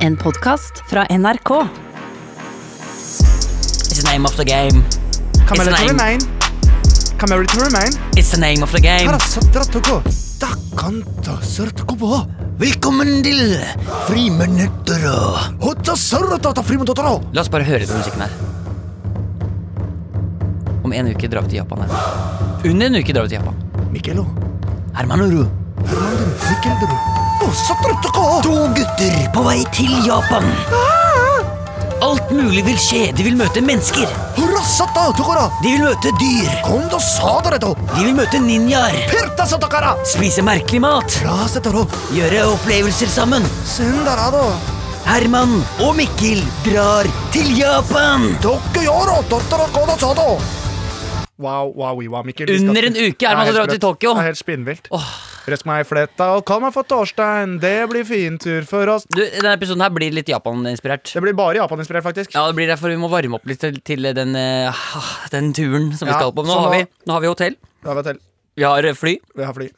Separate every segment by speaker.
Speaker 1: En podkast fra NRK.
Speaker 2: It's the name of the game.
Speaker 3: Camilla
Speaker 2: It's an
Speaker 3: to
Speaker 2: aim.
Speaker 3: remain. Camilla to remain.
Speaker 2: It's the name of the game.
Speaker 3: からさっとらとこ。だっかんとするとこぼ。
Speaker 2: Velkommen til Friminutter og
Speaker 3: ほっとするととフリムドトロ。
Speaker 2: La oss bare høre på musikken her. Om en uke drar vi til Japan. Her. Under en uke drar vi til Japan.
Speaker 3: ミケロ。
Speaker 2: Hermanuru.
Speaker 3: ミケルドル。ぼっさっとらとこ。
Speaker 2: To gutter på vei til Japan. Alt mulig vil skje. De vil møte mennesker.
Speaker 3: ほらさっとところ。今度さだれと。
Speaker 2: De vil møte dyr. De vil møte ninjaer.
Speaker 3: ペルタさとから。
Speaker 2: Spise merkelig mat.
Speaker 3: ラーセトロ。
Speaker 2: Gjøre opplevelser sammen.
Speaker 3: センダラド。
Speaker 2: Herman og Mikkel drar til Japan.
Speaker 3: どっけよろ。どっとろこどさど。Wow, wow, wow, Mikkel. vi skal-
Speaker 2: Under en uke er man så drar til
Speaker 3: helt sprøtt.
Speaker 2: Tokyo.
Speaker 3: Det er helt spinnvilt. Røsk meg i fletta og kall meg for Torstein. Det blir fin tur for oss.
Speaker 2: Du, Denne episoden her blir litt Japan-inspirert.
Speaker 3: Det blir bare Japan-inspirert, faktisk.
Speaker 2: Ja, det blir derfor vi må varme opp litt til, til den, eh, ah, den turen som vi
Speaker 3: Ja,
Speaker 2: skal på. Nå,
Speaker 3: så
Speaker 2: har vi,
Speaker 3: nå-
Speaker 2: nå har vi hotell,
Speaker 3: Ja, vet du,
Speaker 2: vi har eh, fly,
Speaker 3: vi har fly.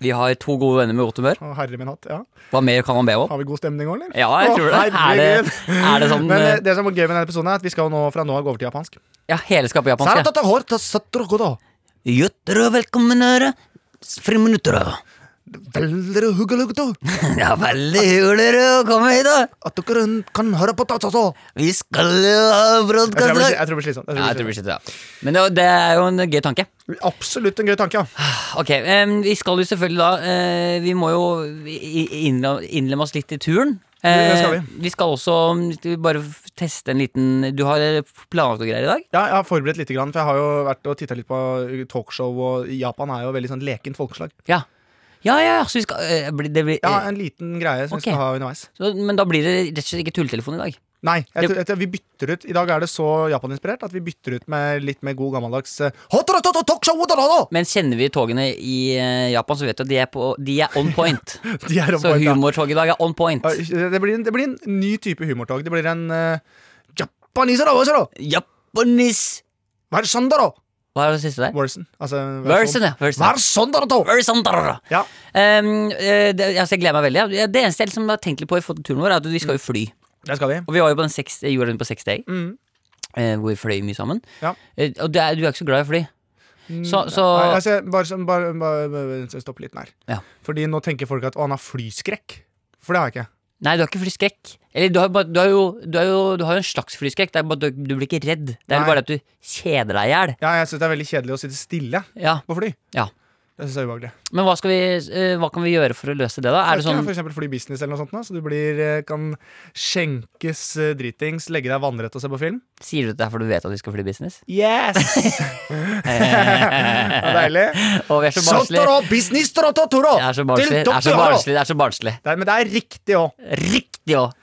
Speaker 2: vi har to gode venner med godt humør.
Speaker 3: Å, herre min hatt. Ja.
Speaker 2: Hva mer kan man be om?
Speaker 3: Har vi god stemning òg, eller?
Speaker 2: Ja, jeg
Speaker 3: Å,
Speaker 2: tror det. Er det,
Speaker 3: herregud.
Speaker 2: er det sånn
Speaker 3: Men eh,
Speaker 2: eh,
Speaker 3: det som er gøy med denne episoden, er at vi skal nå, fra nå av gå over til japansk.
Speaker 2: Ja, hele skapet japansk? ja.
Speaker 3: Saratata horta satrokodo.
Speaker 2: Gutter og velkommenere. Friminutter og
Speaker 3: Veldere huggeluguto.
Speaker 2: Ja, veldig hyggelig å komme hit, da.
Speaker 3: At dere kan høre på tatsaso.
Speaker 2: Vi skal jo ha
Speaker 3: Jeg tror
Speaker 2: broadcast
Speaker 3: jeg blir-
Speaker 2: Ja,
Speaker 3: jeg tror det blir slitsomt. Jeg
Speaker 2: jeg
Speaker 3: tror det
Speaker 2: tror
Speaker 3: blir
Speaker 2: vi sitter, ja. Men det, det er jo en gøy tanke.
Speaker 3: slitsomt. Absolutt en gøy tanke, ja.
Speaker 2: Ok, em, vi skal jo selvfølgelig da eh, Vi må jo i- i- innla- innlemme oss litt i turen.
Speaker 3: Det skal
Speaker 2: Eh,
Speaker 3: vi.
Speaker 2: vi skal også mm, vi bare f- teste en liten Du har eh, planlagt noe greier i dag?
Speaker 3: Ja, jeg har forberedt litt, for jeg har jo vært og titta litt på talkshow, og Japan er jo veldig sånn lekent folkeslag.
Speaker 2: Ja. Ja, ja, ja, så vi skal eh, bli- det blir,
Speaker 3: Ja,
Speaker 2: eh,
Speaker 3: en liten greie som
Speaker 2: Ok.
Speaker 3: vi skal ha underveis.
Speaker 2: så, Men da blir det rett og slett ikke tulletelefon i dag.
Speaker 3: Nei, jeg,
Speaker 2: Det-
Speaker 3: tror- jeg, tror vi bytter ut I dag er det så Japan-inspirert at vi bytter ut med litt mer god gammeldags eh, Hotoratoto talkshow, odarado!
Speaker 2: Men kjenner vi togene i eh, Japan, så vet du at de er, på, de er on point.
Speaker 3: De er
Speaker 2: så
Speaker 3: oppå et, ja.
Speaker 2: humortoget i dag er on point.
Speaker 3: Ja, Det blir, en, det blir en ny type humortog. Det blir en uh, Japanisero, hva sier du?
Speaker 2: Japanis
Speaker 3: Vær sånn da, da!
Speaker 2: Hva er det siste der?
Speaker 3: Versen. Altså, vær
Speaker 2: Versen,
Speaker 3: sånn.
Speaker 2: ja. versen.
Speaker 3: Vær sånn da, da! da.
Speaker 2: Versen, da.
Speaker 3: Ja,
Speaker 2: Um, eh, det, altså, jeg gleder meg veldig. Ja. Det eneste jeg liksom har tenkt litt på i forhold til turen vår, er at vi skal jo fly.
Speaker 3: der skal vi.
Speaker 2: Og vi var jo på den seks, eh, jorden på seks day,
Speaker 3: Mm.
Speaker 2: eh, hvor vi fløy mye sammen.
Speaker 3: Ja.
Speaker 2: Eh, og det er, du er ikke så glad i å fly. Så, så
Speaker 3: Nei, altså, bare, sånn- bare, bare, bare stopp litt der.
Speaker 2: Ja.
Speaker 3: Fordi nå tenker folk at å, han har flyskrekk. For det har jeg ikke.
Speaker 2: Nei, du har ikke flyskrekk. Eller du har, bare- du har jo du har jo du har jo en slags flyskrekk. Det er bare, at du, du blir ikke redd. Det er
Speaker 3: Nei.
Speaker 2: bare at du kjeder deg i hjel.
Speaker 3: Ja, jeg syns det er veldig kjedelig å sitte stille
Speaker 2: Ja.
Speaker 3: på fly.
Speaker 2: Ja.
Speaker 3: Det synes jeg er ubehagelig.
Speaker 2: Men hva, skal vi, eh, hva kan vi gjøre for å løse det, da? Er det
Speaker 3: Skal
Speaker 2: sånn
Speaker 3: ikke For eksempel fly business eller noe sånt, nå, så du blir, eh, kan skjenkes eh, dritings, legge deg vannrett og se på film.
Speaker 2: Sier du dette fordi du vet at vi skal fly business?
Speaker 3: Yes! det er deilig.
Speaker 2: Å, vi er så barnslige.
Speaker 3: Sotoro, business, trotto, toro!
Speaker 2: Det er så barnslig. Det er så barnslig. Det er så barnslig.
Speaker 3: Det er- Men det er riktig òg.
Speaker 2: Riktig òg.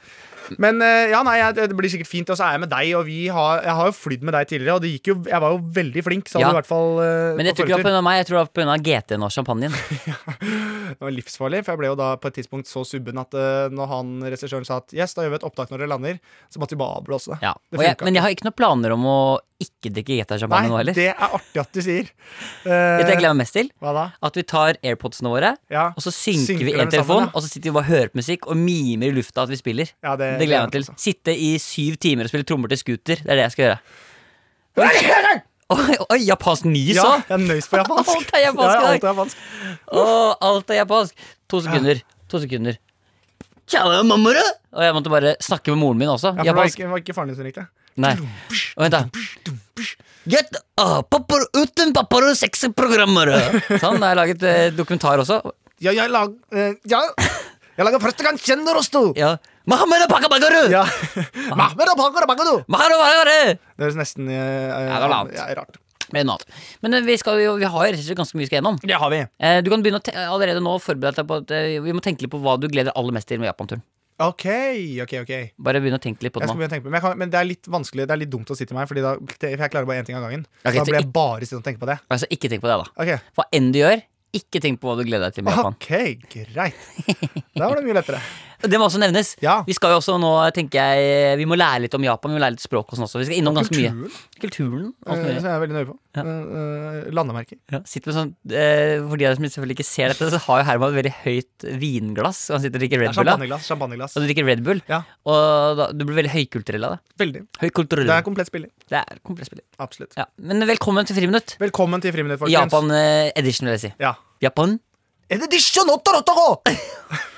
Speaker 3: Men eh, ja, nei, jeg, det blir sikkert fint. Og så er jeg med deg, og vi har, jeg har jo flydd med deg tidligere, og det gikk jo, jeg var jo veldig flink. Så hadde
Speaker 2: Ja.
Speaker 3: du i hvert fall eh,
Speaker 2: Men jeg
Speaker 3: på
Speaker 2: tror ikke det var
Speaker 3: fortur.
Speaker 2: pga. meg, jeg tror det var pga. GT-en og champagnen.
Speaker 3: Det var livsfarlig, for jeg ble jo da på et tidspunkt så subben at eh, når han regissøren sa at yes, da gjør vi et opptak når dere lander, så måtte vi bare avblåse det.
Speaker 2: Ja.
Speaker 3: Det
Speaker 2: Og jeg,
Speaker 3: funka.
Speaker 2: men jeg har ikke noen planer om å ikke drikke
Speaker 3: Nei,
Speaker 2: GT-champagne nå heller.
Speaker 3: det er artig at du sier.
Speaker 2: Vet du hva jeg
Speaker 3: Eh,
Speaker 2: gleder meg mest til?
Speaker 3: hva da?
Speaker 2: At vi tar airpodsene våre,
Speaker 3: Ja.
Speaker 2: og så synker,
Speaker 3: Synker
Speaker 2: vi
Speaker 3: dem
Speaker 2: en telefon,
Speaker 3: sammen, ja.
Speaker 2: og så sitter vi og bare og hører på musikk og mimer i lufta at vi spiller.
Speaker 3: Ja, det,
Speaker 2: Det gleder jeg meg til.
Speaker 3: altså.
Speaker 2: Sitte i syv timer og spille trommer til scooter. Det er det jeg skal gjøre. Oi, oi japansk nys
Speaker 3: Ja,
Speaker 2: òg!
Speaker 3: jeg er nøys på japansk.
Speaker 2: Alt er japansk
Speaker 3: Ja,
Speaker 2: i dag.
Speaker 3: alt er japansk.
Speaker 2: alt er japansk. To sekunder. To sekunder. Tjalla, mamma, da. Og jeg måtte bare snakke med moren min også.
Speaker 3: Ja, for det var
Speaker 2: japansk.
Speaker 3: ikke, det var ikke faren din som ringte.
Speaker 2: Nei. Og vent, da. Get up, papper, uten papper og sexprogrammer. Sånn. Da har jeg laget eh, dokumentar også.
Speaker 3: Ja, jeg lag... eh, ja. Jeg lager første gang kjennerosto!
Speaker 2: Ja. Mohammed Pakabagaru!
Speaker 3: Ja. Mahmer og Pakar og Bakado! Det høres nesten eh,
Speaker 2: det er lavt.
Speaker 3: Ja, rart.
Speaker 2: Men, men eh, vi, skal jo, vi har jo rett og slett ganske mye vi skal gjennom.
Speaker 3: Det har vi.
Speaker 2: Eh, Du kan begynne å te allerede nå å forberede deg på at eh, vi må tenke litt på hva du gleder deg aller mest til med Japan-turen.
Speaker 3: Ok, ok, ok. Jeg
Speaker 2: Bare begynne å tenke litt på det
Speaker 3: skal
Speaker 2: nå.
Speaker 3: begynne å tenke på det. Men, jeg kan, men det er litt vanskelig, det er litt dumt å si til meg, Fordi da, for jeg klarer bare én ting av gangen.
Speaker 2: Ok,
Speaker 3: så da
Speaker 2: så
Speaker 3: blir
Speaker 2: i-
Speaker 3: jeg bare sittende og tenke på det.
Speaker 2: Altså, ikke tenk på det, da.
Speaker 3: Ok,
Speaker 2: Hva enn du gjør, ikke tenk på hva du gleder deg til med Japan.
Speaker 3: ok, greit. Da var det mye lettere.
Speaker 2: Det må også nevnes.
Speaker 3: Ja.
Speaker 2: Vi skal jo også nå, tenker jeg, vi må lære litt om Japan. Vi må lære litt språk og sånn også. Vi skal innom ganske mye.
Speaker 3: Kulturen
Speaker 2: Kulturen. Alt
Speaker 3: eh,
Speaker 2: mulig.
Speaker 3: som jeg er veldig nøye på.
Speaker 2: Ja.
Speaker 3: Eh, eh, landemerker.
Speaker 2: Ja, sitter med sånn, eh, For de av dere som selvfølgelig ikke ser dette, så har jo Herman et veldig høyt vinglass. Og han sitter og drikker
Speaker 3: Det er
Speaker 2: Red Bull. da.
Speaker 3: Champagneglass. champagneglass.
Speaker 2: Og du drikker Red Bull,
Speaker 3: Ja.
Speaker 2: og da, du blir veldig høykulturell av det.
Speaker 3: Veldig.
Speaker 2: Høykulturell.
Speaker 3: Det er komplett spilling.
Speaker 2: Det er komplett spilling.
Speaker 3: Absolutt.
Speaker 2: Ja. Men velkommen til Friminutt.
Speaker 3: Velkommen til Friminutt, folkens.
Speaker 2: Japan eh, edition, vil jeg si.
Speaker 3: Ja.
Speaker 2: Japan.
Speaker 3: En edition of Torotoro!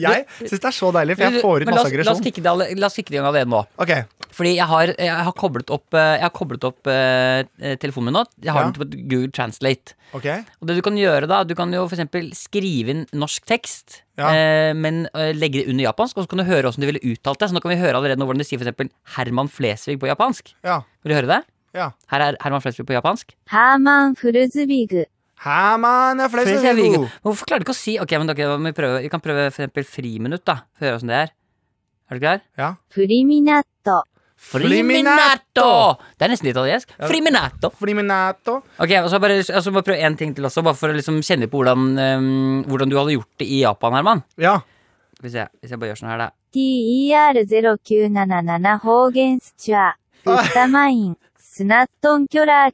Speaker 3: Jeg syns det er så deilig, for jeg får ut
Speaker 2: Men la
Speaker 3: masse
Speaker 2: oss- La oss
Speaker 3: aggresjon.
Speaker 2: kikke det alle- la oss kikke det i gang av det nå.
Speaker 3: Ok,
Speaker 2: Fordi jeg har, jeg har koblet opp, eh, jeg har koblet opp eh, eh, telefonen min nå. Jeg har
Speaker 3: Ja.
Speaker 2: den på Google Translate.
Speaker 3: ok
Speaker 2: Og det Du kan gjøre da, du kan jo for eksempel skrive inn norsk tekst,
Speaker 3: Ja.
Speaker 2: eh, men eh, legge det under japansk. Og så kan du høre hvordan du ville uttalt det. Så nå kan vi høre allerede nå hvordan de sier for eksempel Herman Flesvig på japansk.
Speaker 3: Ja.
Speaker 2: Vil du høre det?
Speaker 3: ja.
Speaker 2: Her er Herman Flesvig på japansk.
Speaker 4: ハーマンフルズビグ。
Speaker 3: Her, man, jeg fleser
Speaker 2: Flesvig.
Speaker 3: god.
Speaker 2: Hvorfor klarer du ikke å si Ok, men ok, da må vi, prøve, vi kan prøve for eksempel friminutt, da. Få høre åssen det er. Er du klar?
Speaker 3: Ja.
Speaker 4: プリミナット。
Speaker 3: Friminato!
Speaker 2: Det er nesten litt italiensk.
Speaker 3: Ja.
Speaker 2: Friminato.
Speaker 3: Friminato.
Speaker 2: Ok, og så bare, og så bare prøve en ting til også, bare for å liksom kjenne på hvordan, eh, hvordan du hadde gjort det i Japan, Herman.
Speaker 3: Ja.
Speaker 2: Skal vi se, hvis jeg bare gjør sånn her, da.
Speaker 4: TER0977 方言スチュア。ウッタマイン。スナットンキョラー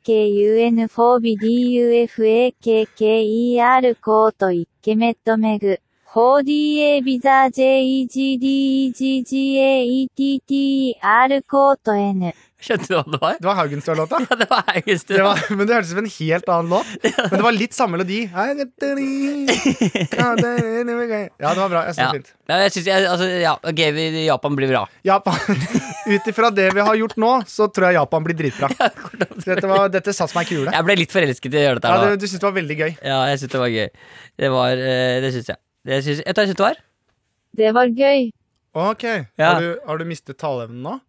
Speaker 4: KUN4BDUFAKKER コートイッケメットメグ。4DA ビザ JEGDEGGAETTER コート N。
Speaker 2: Skjønte du hva det var?
Speaker 3: Det var Haugenstua-låta.
Speaker 2: Ja, det var
Speaker 3: Det
Speaker 2: Haugenstua.
Speaker 3: var, men det hørtes ut som en helt annen låt. Men det var litt samme melodi. Ja, det var bra. Jeg synes det
Speaker 2: Ja.
Speaker 3: var fint.
Speaker 2: Ja, jeg synes, jeg, altså, ja, ok, vi, Japan blir bra.
Speaker 3: Japan. Ut ifra det vi har gjort nå, så tror jeg Japan blir dritbra. Så Dette, var, dette satt meg i kule.
Speaker 2: Jeg ble litt forelsket i å gjøre dette.
Speaker 3: Ja,
Speaker 2: her
Speaker 3: det,
Speaker 2: nå.
Speaker 3: du syntes det var veldig gøy.
Speaker 2: ja, jeg synes det var gøy. Det var, eh, det synes jeg. Det synes, jeg tar synes det var.
Speaker 4: ではゲイ。
Speaker 3: Ok,
Speaker 2: Ja.
Speaker 3: har, du, har du mistet taleevnen nå?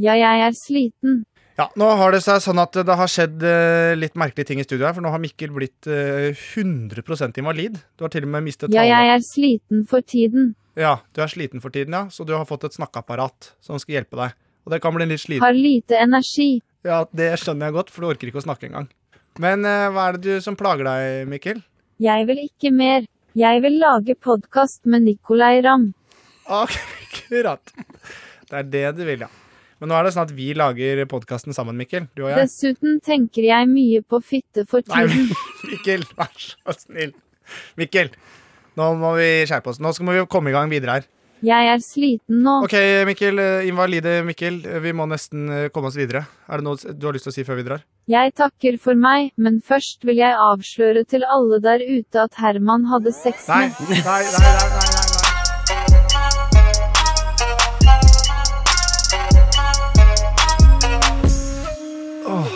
Speaker 4: やややスリートン。
Speaker 3: Ja, nå har det seg sånn at det har skjedd eh, litt merkelige ting i studio her, for nå har Mikkel blitt eh, 100 invalid. Du har til og med mistet
Speaker 4: やや
Speaker 3: taleevnen.
Speaker 4: やスリートン for tiden.
Speaker 3: Ja, du er sliten for tiden, ja, så du har fått et snakkeapparat som skal hjelpe deg. Og det kan bli litt sliten.
Speaker 4: Har lite energi.
Speaker 3: Ja, det skjønner jeg godt, for du orker ikke å snakke engang. Men eh, hva er det du som plager deg, Mikkel?
Speaker 4: Jeg vil ikke mer. Jeg vil lage podkast med Nicolay Ramm.
Speaker 3: Akkurat. Det er det du vil, ja. Men nå er det sånn at vi lager podkasten sammen, Mikkel. Du og jeg.
Speaker 4: Dessuten tenker jeg mye på fitte for
Speaker 3: Nei,
Speaker 4: tiden.
Speaker 3: men Mikkel, vær så snill. Mikkel, nå må vi skjerpe oss. Nå skal vi komme i gang videre her.
Speaker 4: Jeg er sliten nå.
Speaker 3: OK, Mikkel. eh, Invalide Mikkel. eh, Vi må nesten eh, komme oss videre. Er det noe du har lyst til å si før vi drar?
Speaker 4: Jeg takker for meg, men først vil jeg avsløre til alle der ute at Herman hadde sex
Speaker 3: Nei. nei,
Speaker 4: med
Speaker 3: nei, nei, nei, nei, nei. Åh,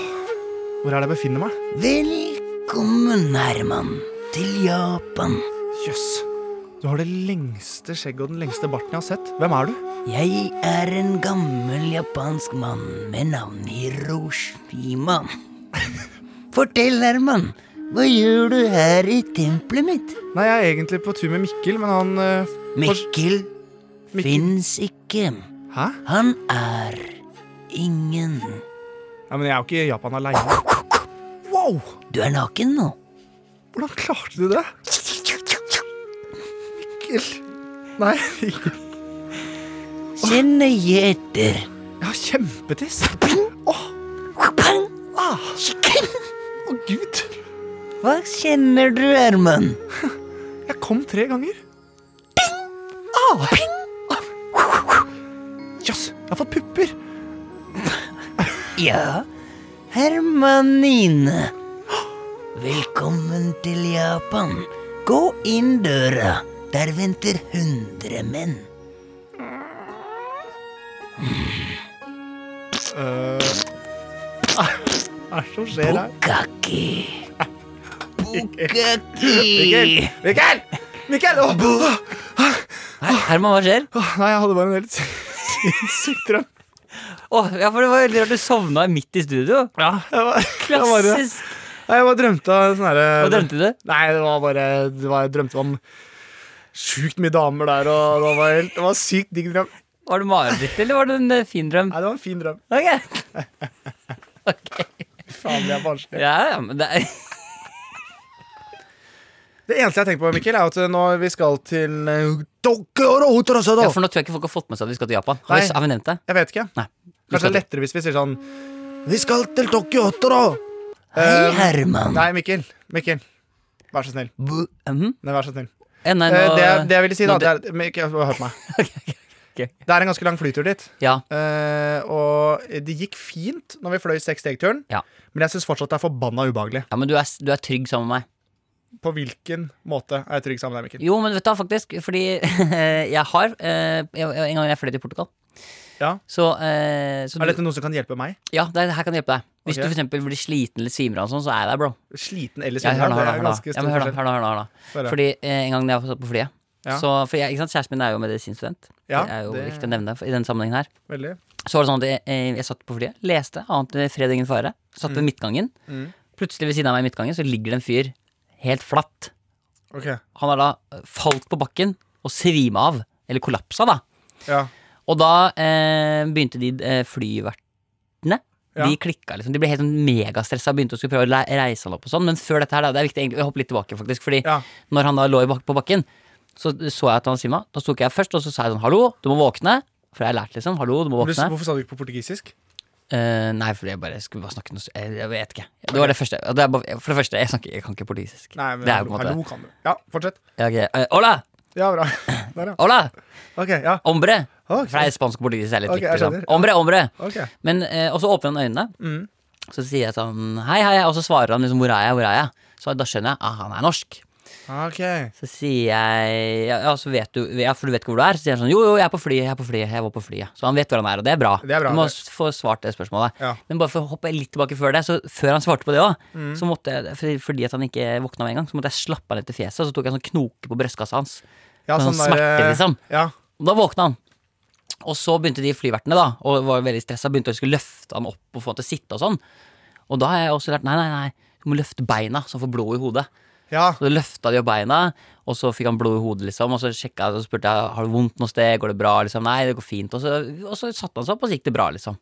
Speaker 3: hvor er det jeg befinner meg?
Speaker 2: Velkommen, Herman, til Japan.
Speaker 3: Jøss. Du har det lengste skjegget og den lengste barten jeg har sett. Hvem er du?
Speaker 2: Jeg er en gammel japansk mann med navn Hiroshima. Fortell, Herman, hva gjør du her i tempelet mitt?
Speaker 3: Nei, Jeg er egentlig på tur med Mikkel, men han eh, fors-
Speaker 2: Mikkel fins ikke.
Speaker 3: Hæ?
Speaker 2: Han er ingen.
Speaker 3: Nei, men Jeg er jo ikke i Japan aleine. Wow!
Speaker 2: Du er naken nå.
Speaker 3: Hvordan klarte du det? Mikkel Nei, Mikkel.
Speaker 2: Kjenn nøye etter.
Speaker 3: jeg har kjempetiss. Åh, ah, Å, gud.
Speaker 2: Hva kjenner du, Herman?
Speaker 3: Jeg kom tre ganger. Au! Ah. Jøss, jeg har fått pupper.
Speaker 2: Ja, Hermanine. Velkommen til Japan. Gå inn døra. Der venter hundre menn.
Speaker 3: Hva er det som skjer her?
Speaker 2: Bukaki.
Speaker 3: Mikkel!
Speaker 2: Bukaki.
Speaker 3: Mikkel! Mikkel! Åh, åh.
Speaker 2: Herman, hva skjer?
Speaker 3: Åh, Nei, jeg hadde bare en helt sinnssyk drøm.
Speaker 2: Åh, ja, for Det var veldig rart du sovna midt i studio.
Speaker 3: Ja, jeg var, jeg bare,
Speaker 2: Klassisk.
Speaker 3: Nei, jeg bare drømte av sånn herre
Speaker 2: Hva drømte du?
Speaker 3: Nei, det var bare det var, Jeg drømte om sjukt mye damer der, og det var, helt, det var en sykt digg drøm. Nei,
Speaker 2: Var det mareritt, eller var det en eh, fin drøm?
Speaker 3: det var en fin drøm.
Speaker 2: Ok.
Speaker 3: Faen, det er barnslig.
Speaker 2: Ja, ja, men det er
Speaker 3: Det eneste jeg tenker på, Mikkel, er at nå vi skal til eh,
Speaker 2: Ja, for nå tror jeg ikke folk har fått med seg at vi skal til Japan. Har vi,
Speaker 3: Nei.
Speaker 2: har vi nevnt det?
Speaker 3: Jeg vet ikke.
Speaker 2: Nei. Vi
Speaker 3: Kanskje
Speaker 2: skal
Speaker 3: det er lettere hvis vi sier sånn
Speaker 5: Vi skal til Tokyo 8, da! Hei,
Speaker 3: Eh,
Speaker 5: Herman.
Speaker 3: Nei, Mikkel. Mikkel. Vær så snill.
Speaker 5: Bu-
Speaker 2: Mhm.
Speaker 3: Nei, vær så snill.
Speaker 2: Eh, nei,
Speaker 3: Eh,
Speaker 2: nå-
Speaker 3: det, jeg- det jeg ville si, da,
Speaker 2: nå-
Speaker 3: det er Mikkel, hør på meg.
Speaker 2: ok.
Speaker 3: Det er en ganske lang flytur dit.
Speaker 2: Ja,
Speaker 3: Eh, og det gikk fint når vi fløy seks steg-turen,
Speaker 2: Ja.
Speaker 3: men jeg syns fortsatt det er forbanna ubehagelig.
Speaker 2: ja, men du er, s- du er trygg sammen med meg.
Speaker 3: På hvilken måte er jeg trygg sammen med deg, Mikkel?
Speaker 2: Jo, men vet du hva, faktisk, fordi jeg har eh, jeg- jeg- En gang jeg fløy til Portugal.
Speaker 3: Ja.
Speaker 2: Så, eh, så
Speaker 3: Er
Speaker 2: du,
Speaker 3: dette noe som kan hjelpe meg?
Speaker 2: ja, det er- her kan jeg hjelpe deg. Hvis du
Speaker 3: Ok.
Speaker 2: for eksempel blir sliten eller svimer av og sånn, så er jeg der, bro.
Speaker 3: Sliten eller
Speaker 2: Ja, hør
Speaker 3: svimmel?
Speaker 2: nå, hør nå,
Speaker 3: det er
Speaker 2: hør
Speaker 3: ganske
Speaker 2: nå. Ja,
Speaker 3: stor
Speaker 2: men hør nå,
Speaker 3: forskjell.
Speaker 2: hør nå, hør nå.
Speaker 3: Hør her.
Speaker 2: Fordi eh, en gang da jeg satt på flyet
Speaker 3: Ja.
Speaker 2: Så, for jeg, ikke sant, Kjæresten min er jo medisinstudent.
Speaker 3: Ja,
Speaker 2: det er jo
Speaker 3: det-
Speaker 2: viktig å nevne for- i den sammenhengen her.
Speaker 3: Veldig.
Speaker 2: Så var det sånn at jeg, eh, jeg satt på flyet, leste, ante fred ingen fare. Satt ved midtgangen.
Speaker 3: Mm.
Speaker 2: Plutselig ved siden av meg i midtgangen så ligger det en fyr helt flatt.
Speaker 3: Ok.
Speaker 2: Han har da eh, falt på bakken og svima av. Eller kollapsa, da.
Speaker 3: Ja.
Speaker 2: Og da eh, begynte de eh, flyvertene.
Speaker 3: Ja.
Speaker 2: De klikka, liksom. De ble helt sånn megastressa og begynte å skulle prøve å le- reise han opp og sånn. Men før dette her, da, det er viktig egentlig, å hoppe litt tilbake, faktisk. Fordi
Speaker 3: Ja.
Speaker 2: når han da lå i bak på bakken, så så jeg at han svima. Da sto ikke jeg først, og så sa jeg sånn hallo, du må våkne. For jeg har lært, liksom. Hallo, du må
Speaker 3: Men du-
Speaker 2: våkne.
Speaker 3: Hvorfor sa du ikke på portugisisk?
Speaker 2: Eh, nei, fordi jeg bare skulle bare snakke noe s- Jeg, jeg vet ikke. Det var det første. og Det er bare, for det første, jeg, snakker, jeg kan ikke portugisisk.
Speaker 3: Nei, men
Speaker 2: det er jo på en måte
Speaker 3: hallo, kan du. Ja, fortsett.
Speaker 2: Ja, ok. Eh, Hola!
Speaker 3: Ja, bra. Der, ja.
Speaker 2: Hola!
Speaker 3: Ok, ja.
Speaker 2: Ombre!
Speaker 3: Ok.
Speaker 2: For det er spansk og portugisisk. er litt
Speaker 3: Ok, jeg
Speaker 2: riktig, sånn.
Speaker 3: skjønner.
Speaker 2: Ombre, ombre!
Speaker 3: Ok.
Speaker 2: Men, eh, og så åpner han øynene,
Speaker 3: Mm.
Speaker 2: så sier jeg sånn hei, hei, og så svarer han liksom hvor er jeg, hvor er jeg? Så da skjønner jeg ah, han er norsk.
Speaker 3: Ok.
Speaker 2: Så sier jeg ja, ja, så vet du, ja, for du vet ikke hvor du er? Så sier han sånn jo, jo, jeg er på flyet, jeg er på flyet, jeg var på flyet. Så han vet hvor han er, og det er bra.
Speaker 3: Det er bra,
Speaker 2: du må
Speaker 3: det.
Speaker 2: s- få svart det spørsmålet.
Speaker 3: Ja. Mm.
Speaker 2: Men bare for å hoppe litt tilbake før det, så før han svarte på det òg, så måtte jeg, fordi- fordi at han ikke våkna med en gang, så måtte jeg slappe han litt i fjeset, og så tok jeg en sånn knoke på brystkassa hans.
Speaker 3: Ja,
Speaker 2: Sånn smerte,
Speaker 3: der, eh,
Speaker 2: liksom.
Speaker 3: Ja.
Speaker 2: Og da våkna han. Og så begynte de flyvertene, da, og var veldig stressa, begynte å skulle løfte han opp og få han til å sitte og sånn. Og da har jeg også lært nei, nei, nei, du må løfte beina, så han får blod i hodet.
Speaker 3: ja.
Speaker 2: Så løfta de opp beina, og så fikk han blod i hodet, liksom. Og så sjekka jeg og så spurte jeg har du vondt noe sted, går det bra, liksom. Nei, det går fint. Og så, og så satte han seg opp, og så gikk det bra, liksom.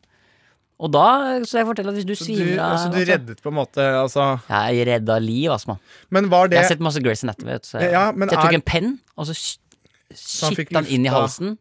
Speaker 2: Og da, så jeg forteller at hvis du
Speaker 3: Så du,
Speaker 2: svimer av
Speaker 3: altså, du
Speaker 2: altså,
Speaker 3: reddet på en måte, altså
Speaker 2: Jeg redda liv, altså, mann.
Speaker 3: Men var det
Speaker 2: Jeg har sett masse Grace Anatomy, vet du. Så jeg,
Speaker 3: Ja, men
Speaker 2: så jeg tok
Speaker 3: er-
Speaker 2: en penn, og så
Speaker 3: han fikk
Speaker 2: shitta han inn i
Speaker 3: lufta.
Speaker 2: halsen.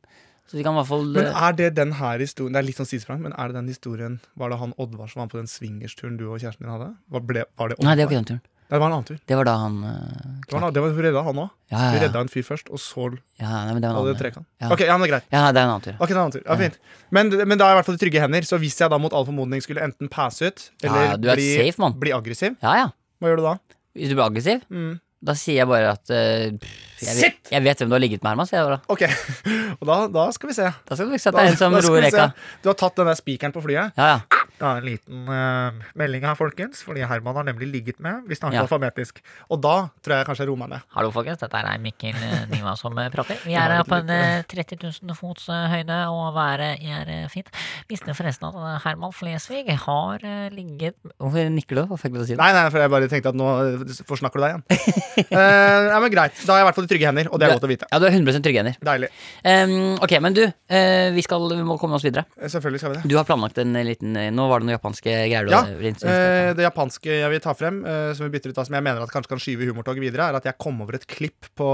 Speaker 2: Så fikk han i hvert fall eh,
Speaker 3: Men er det den her historien Det er litt sånn sidesprang, men er det den historien Var det han Oddvar som var på den swingersturen du og kjæresten din hadde? Var, ble, var det Oddvar?
Speaker 2: Nei, det var ikke den turen.
Speaker 3: Nei, det var en annen tur.
Speaker 2: Det var da han øh,
Speaker 3: Det var, en annen- det var, hun redda han òg.
Speaker 2: Ja, ja,
Speaker 3: Hun
Speaker 2: ja.
Speaker 3: redda en fyr først, og så
Speaker 2: ja nei, men det var en
Speaker 3: hadde det
Speaker 2: annen.
Speaker 3: trekant.
Speaker 2: Ja.
Speaker 3: Ok, ja, men det er greit.
Speaker 2: Ja, det er en annen tur. ja.
Speaker 3: Ok, det er en annen tur. Ja, fint. Men, men da er jeg i hvert fall i trygge hender, så hvis jeg da mot all formodning skulle enten passe ut eller
Speaker 2: Ja, du er
Speaker 3: bli,
Speaker 2: safe, mann.
Speaker 3: bli aggressiv,
Speaker 2: Ja, ja.
Speaker 3: hva gjør du da?
Speaker 2: Hvis du blir aggressiv,
Speaker 3: Mm.
Speaker 2: da sier jeg bare at øh, pff, jeg, vet- jeg vet hvem du har ligget med, Herman. Sier jeg bare.
Speaker 3: Ok, og da, da skal vi se.
Speaker 2: Da skal du ikke se at
Speaker 3: Da,
Speaker 2: det er en som
Speaker 3: da skal
Speaker 2: roer
Speaker 3: vi se.
Speaker 2: reka.
Speaker 3: Du har tatt den der spikeren på flyet.
Speaker 2: Ja, ja.
Speaker 3: Det er en liten eh, melding her, folkens, fordi Herman har nemlig ligget med. Vi snakker
Speaker 2: Ja.
Speaker 3: alfabetisk. Og da tror jeg kanskje jeg roer meg ned.
Speaker 6: Hallo, folkens. Dette er Mikkel eh, Niva som eh, prater. Vi er eh, på en eh, 30 000 fots eh, høyde, og været er eh, fint. Visste forresten at eh, Herman Flesvig har eh, ligget
Speaker 2: Hvorfor nikker du? Hvorfor fikk du til å si det?
Speaker 3: Nei, nei, for jeg bare tenkte at nå eh, forsnakker du deg igjen. Eh, nei, men Greit. Da er jeg i hvert fall i trygge hender, og det er godt å vite.
Speaker 2: Ja, du er 100 trygge hender.
Speaker 3: Deilig.
Speaker 2: Em, ok, men du, eh, vi, skal, vi må komme oss videre.
Speaker 3: Eh, Selvfølgelig skal vi det.
Speaker 2: Du har planlagt en liten eh, Nå var det noen japanske greier du
Speaker 3: Ja,
Speaker 2: hadde rint-
Speaker 3: Eh, det japanske jeg vil ta frem, eh, som vi bytter ut av, som jeg mener at kanskje kan skyve humortoget videre, er at jeg kom over et klipp på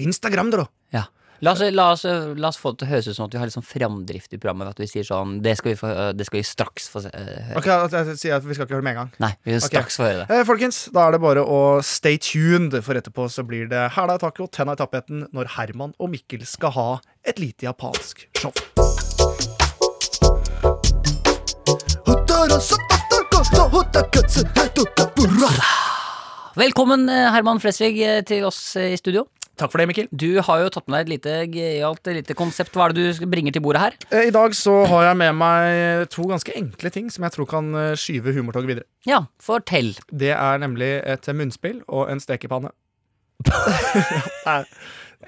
Speaker 3: Instagram. Dro.
Speaker 2: Ja. La oss, la, oss, la oss få det til å høres ut som at vi har litt sånn framdrift i programmet. At vi sier sånn Det skal vi, få, det skal vi straks få se, eh, høre.
Speaker 3: Ok, at jeg sier at Vi skal ikke høre det med en gang.
Speaker 2: Nei, vi vil
Speaker 3: Ok.
Speaker 2: straks få høre det.
Speaker 3: Eh, folkens, da er det bare å stay tuned, for etterpå så blir det Hæla i taco, tenna i tapeten, når Herman og Mikkel skal ha et lite japansk show.
Speaker 2: Velkommen, eh, Herman Flesvig, eh, til oss eh, i studio.
Speaker 3: Takk for det, Mikkel.
Speaker 2: Du har jo tatt med deg et lite gøyalt eh, lite konsept. Hva er det du sk- bringer til bordet her?
Speaker 3: Eh, I dag så har jeg med meg to ganske enkle ting som jeg tror kan eh, skyve humortoget videre.
Speaker 2: Ja, fortell.
Speaker 3: Det er nemlig et munnspill og en stekepanne. Det er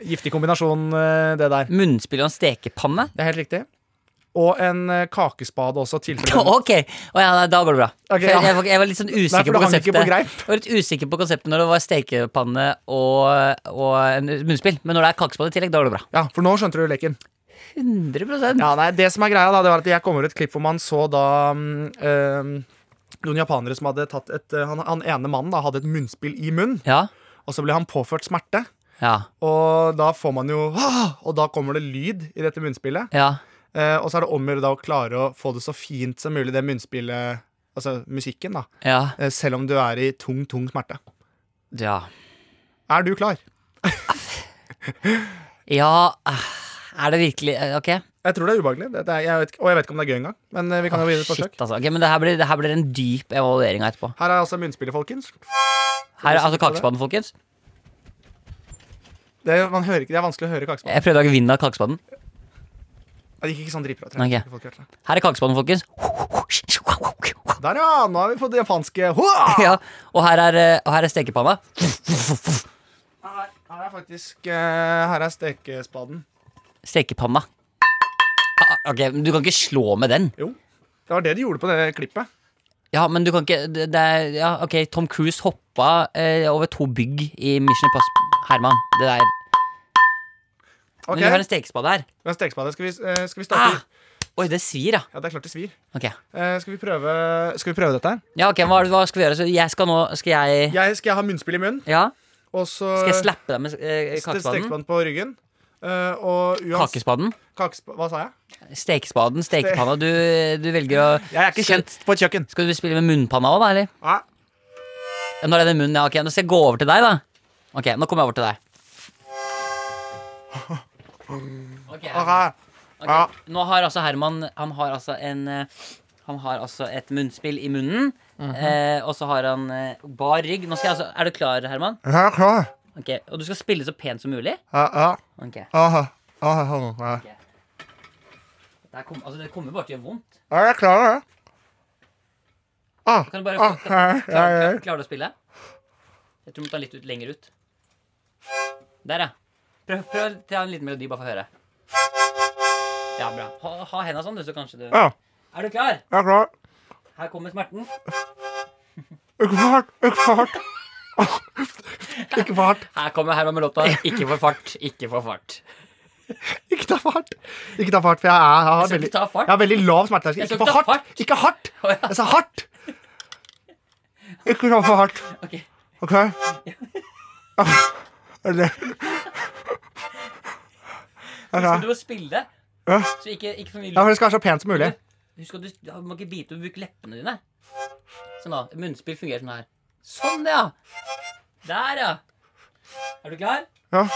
Speaker 3: Giftig kombinasjon, eh, det der.
Speaker 2: Munnspill og en stekepanne?
Speaker 3: Det er helt riktig. Og en eh, kakespade også, tilfelle
Speaker 2: Ok, Å ja, nei, da går det bra.
Speaker 3: Ok,
Speaker 2: For jeg,
Speaker 3: ja.
Speaker 2: jeg, var, jeg var litt sånn
Speaker 3: Nei,
Speaker 2: usikker
Speaker 3: for det
Speaker 2: på
Speaker 3: hang ikke
Speaker 2: konseptet.
Speaker 3: på greip.
Speaker 2: Jeg var litt usikker på konseptet når det var stekepanne og, og en munnspill. Men når det er kakespanne i tillegg, da går det bra.
Speaker 3: Ja, for nå skjønte du leken.
Speaker 2: 100
Speaker 3: Ja, nei, det som er greia da, det var at jeg kom over et klipp hvor man så da mm, eh, noen japanere som hadde tatt et eh, han, han ene mannen da hadde et munnspill i munnen,
Speaker 2: Ja.
Speaker 3: og så ble han påført smerte.
Speaker 2: Ja.
Speaker 3: Og da får man jo «Ah!» Og da kommer det lyd i dette munnspillet.
Speaker 2: ja.
Speaker 3: Eh, og så er det om å gjøre da å klare å få det så fint som mulig, det munnspillet, altså musikken, da.
Speaker 2: Ja.
Speaker 3: Eh, selv om du er i tung, tung smerte.
Speaker 2: Ja.
Speaker 3: Er du klar?
Speaker 2: ja. ah, Er det virkelig eh, Ok.
Speaker 3: Jeg tror det er ubehagelig. Det, det er, jeg vet, ikke- og jeg vet ikke om det er gøy engang. Men eh, vi kan jo gi det et
Speaker 2: Shit,
Speaker 3: forsøk.
Speaker 2: altså. Ok, men det her, blir, det her blir en dyp evaluering av etterpå.
Speaker 3: Her er altså munnspillet, folkens.
Speaker 2: Her er altså Kakespadden, folkens.
Speaker 3: Det, man hører ikke, det er vanskelig å høre kakespann.
Speaker 2: Jeg prøvde å lage vind av Kakespadden.
Speaker 3: Det gikk ikke sånn dritbra. tror
Speaker 2: Ok.
Speaker 3: jeg. Folk hørte det.
Speaker 2: Her er Kakespadden, folkens.
Speaker 3: Der, ja! Nå er vi på det japanske. Hua!
Speaker 2: Ja. Og her er, eh, og her er stekepanna.
Speaker 3: Her, her er faktisk eh, Her er stekespaden.
Speaker 2: Stekepanna. Ah, Ok, men Du kan ikke slå med den.
Speaker 3: Jo. Det var det de gjorde på det klippet.
Speaker 2: Ja, men du kan ikke det, det er, ja, ok, Tom Cruise hoppa eh, over to bygg i Mission Impossible. Herman, det der
Speaker 3: Ok,
Speaker 2: Men vi har en stekespade her.
Speaker 3: vi har stekespade. Skal vi, eh, skal vi
Speaker 2: Ah!
Speaker 3: starte
Speaker 2: Oi, det svir, ja.
Speaker 3: Ja, det er klart det svir.
Speaker 2: Ok,
Speaker 3: Eh, skal, vi prøve, skal vi prøve dette her?
Speaker 2: ja, ok, hva, hva skal vi gjøre? Så jeg skal nå Skal jeg
Speaker 3: Jeg skal jeg ha munnspill i munnen,
Speaker 2: Ja?
Speaker 3: og så
Speaker 2: Skal jeg slappe deg med eh,
Speaker 3: ste-
Speaker 2: kakespaden?
Speaker 3: stekespaden på ryggen. Eh, og uans...
Speaker 2: Kakespaden?
Speaker 3: kakespa- Hva sa jeg?
Speaker 2: Stekespaden? Stekepanna? Du, du velger å Skal-
Speaker 3: på et kjøkken.
Speaker 2: Skal du spille med munnpanna òg, da? eller?
Speaker 3: Nei.
Speaker 2: Ja, Når er det munnen? Ja, ok, Nå skal jeg gå over til deg, da. Ok, nå kommer jeg over til deg. Ok,
Speaker 3: Ok.
Speaker 2: Ok,
Speaker 3: Ja.
Speaker 2: Nå har altså Herman Han har altså en eh, Han har altså et munnspill i munnen. eh, og så har han eh, bar rygg. Nå skal jeg altså Er du klar, Herman?
Speaker 3: Jeg er klar.
Speaker 2: Ok, Og du skal spille så pent som mulig?
Speaker 3: Ja, ja.
Speaker 2: Ok
Speaker 3: Aha. Aha, aha, aha.
Speaker 2: Det, her kom, altså, det kommer bare til å gjøre vondt.
Speaker 3: Ja, Jeg er klar, ja. Ah,
Speaker 2: Kan du bare
Speaker 3: ah,
Speaker 2: klarer,
Speaker 3: ja, ja, ja.
Speaker 2: klarer, klarer du å spille? Jeg tror du må ta den litt ut, lenger ut. Der, ja. Prøv, prøv å ta en liten melodi, bare for å høre. Ja, bra. Ha, ha henda sånn, du, så kanskje du
Speaker 3: Ja,
Speaker 2: Er du klar?
Speaker 3: jeg er klar.
Speaker 2: Her kommer smerten.
Speaker 3: Ikke fart, ikke fart. Ikke fart,
Speaker 2: Her kommer Herman med låta 'Ikke for fart, ikke for fart'.
Speaker 3: ikke ta fart. Ikke ta fart, for jeg, er, jeg,
Speaker 2: Jeg
Speaker 3: har,
Speaker 2: skal
Speaker 3: veldig,
Speaker 2: ikke ta
Speaker 3: jeg har
Speaker 2: fart.
Speaker 3: veldig lav smerteterskel.
Speaker 2: Jeg skal
Speaker 3: Ikke for
Speaker 2: ikke ta
Speaker 3: hardt.
Speaker 2: fart.
Speaker 3: Ikke hardt.
Speaker 2: Å, ja.
Speaker 3: Jeg sa hardt. Ikke ta for hardt.
Speaker 2: Ok.
Speaker 3: OK? Ah, Er det Ok.
Speaker 2: Skal du spille,
Speaker 3: Ja.
Speaker 2: så ikke, ikke for mye
Speaker 3: Ja, for det skal være så pent som mulig.
Speaker 2: Husk at du, du må ikke bite og bruke leppene dine. Sånn da, Munnspill fungerer sånn her. Sånn, ja! Der, ja. Er du klar?
Speaker 3: Ja.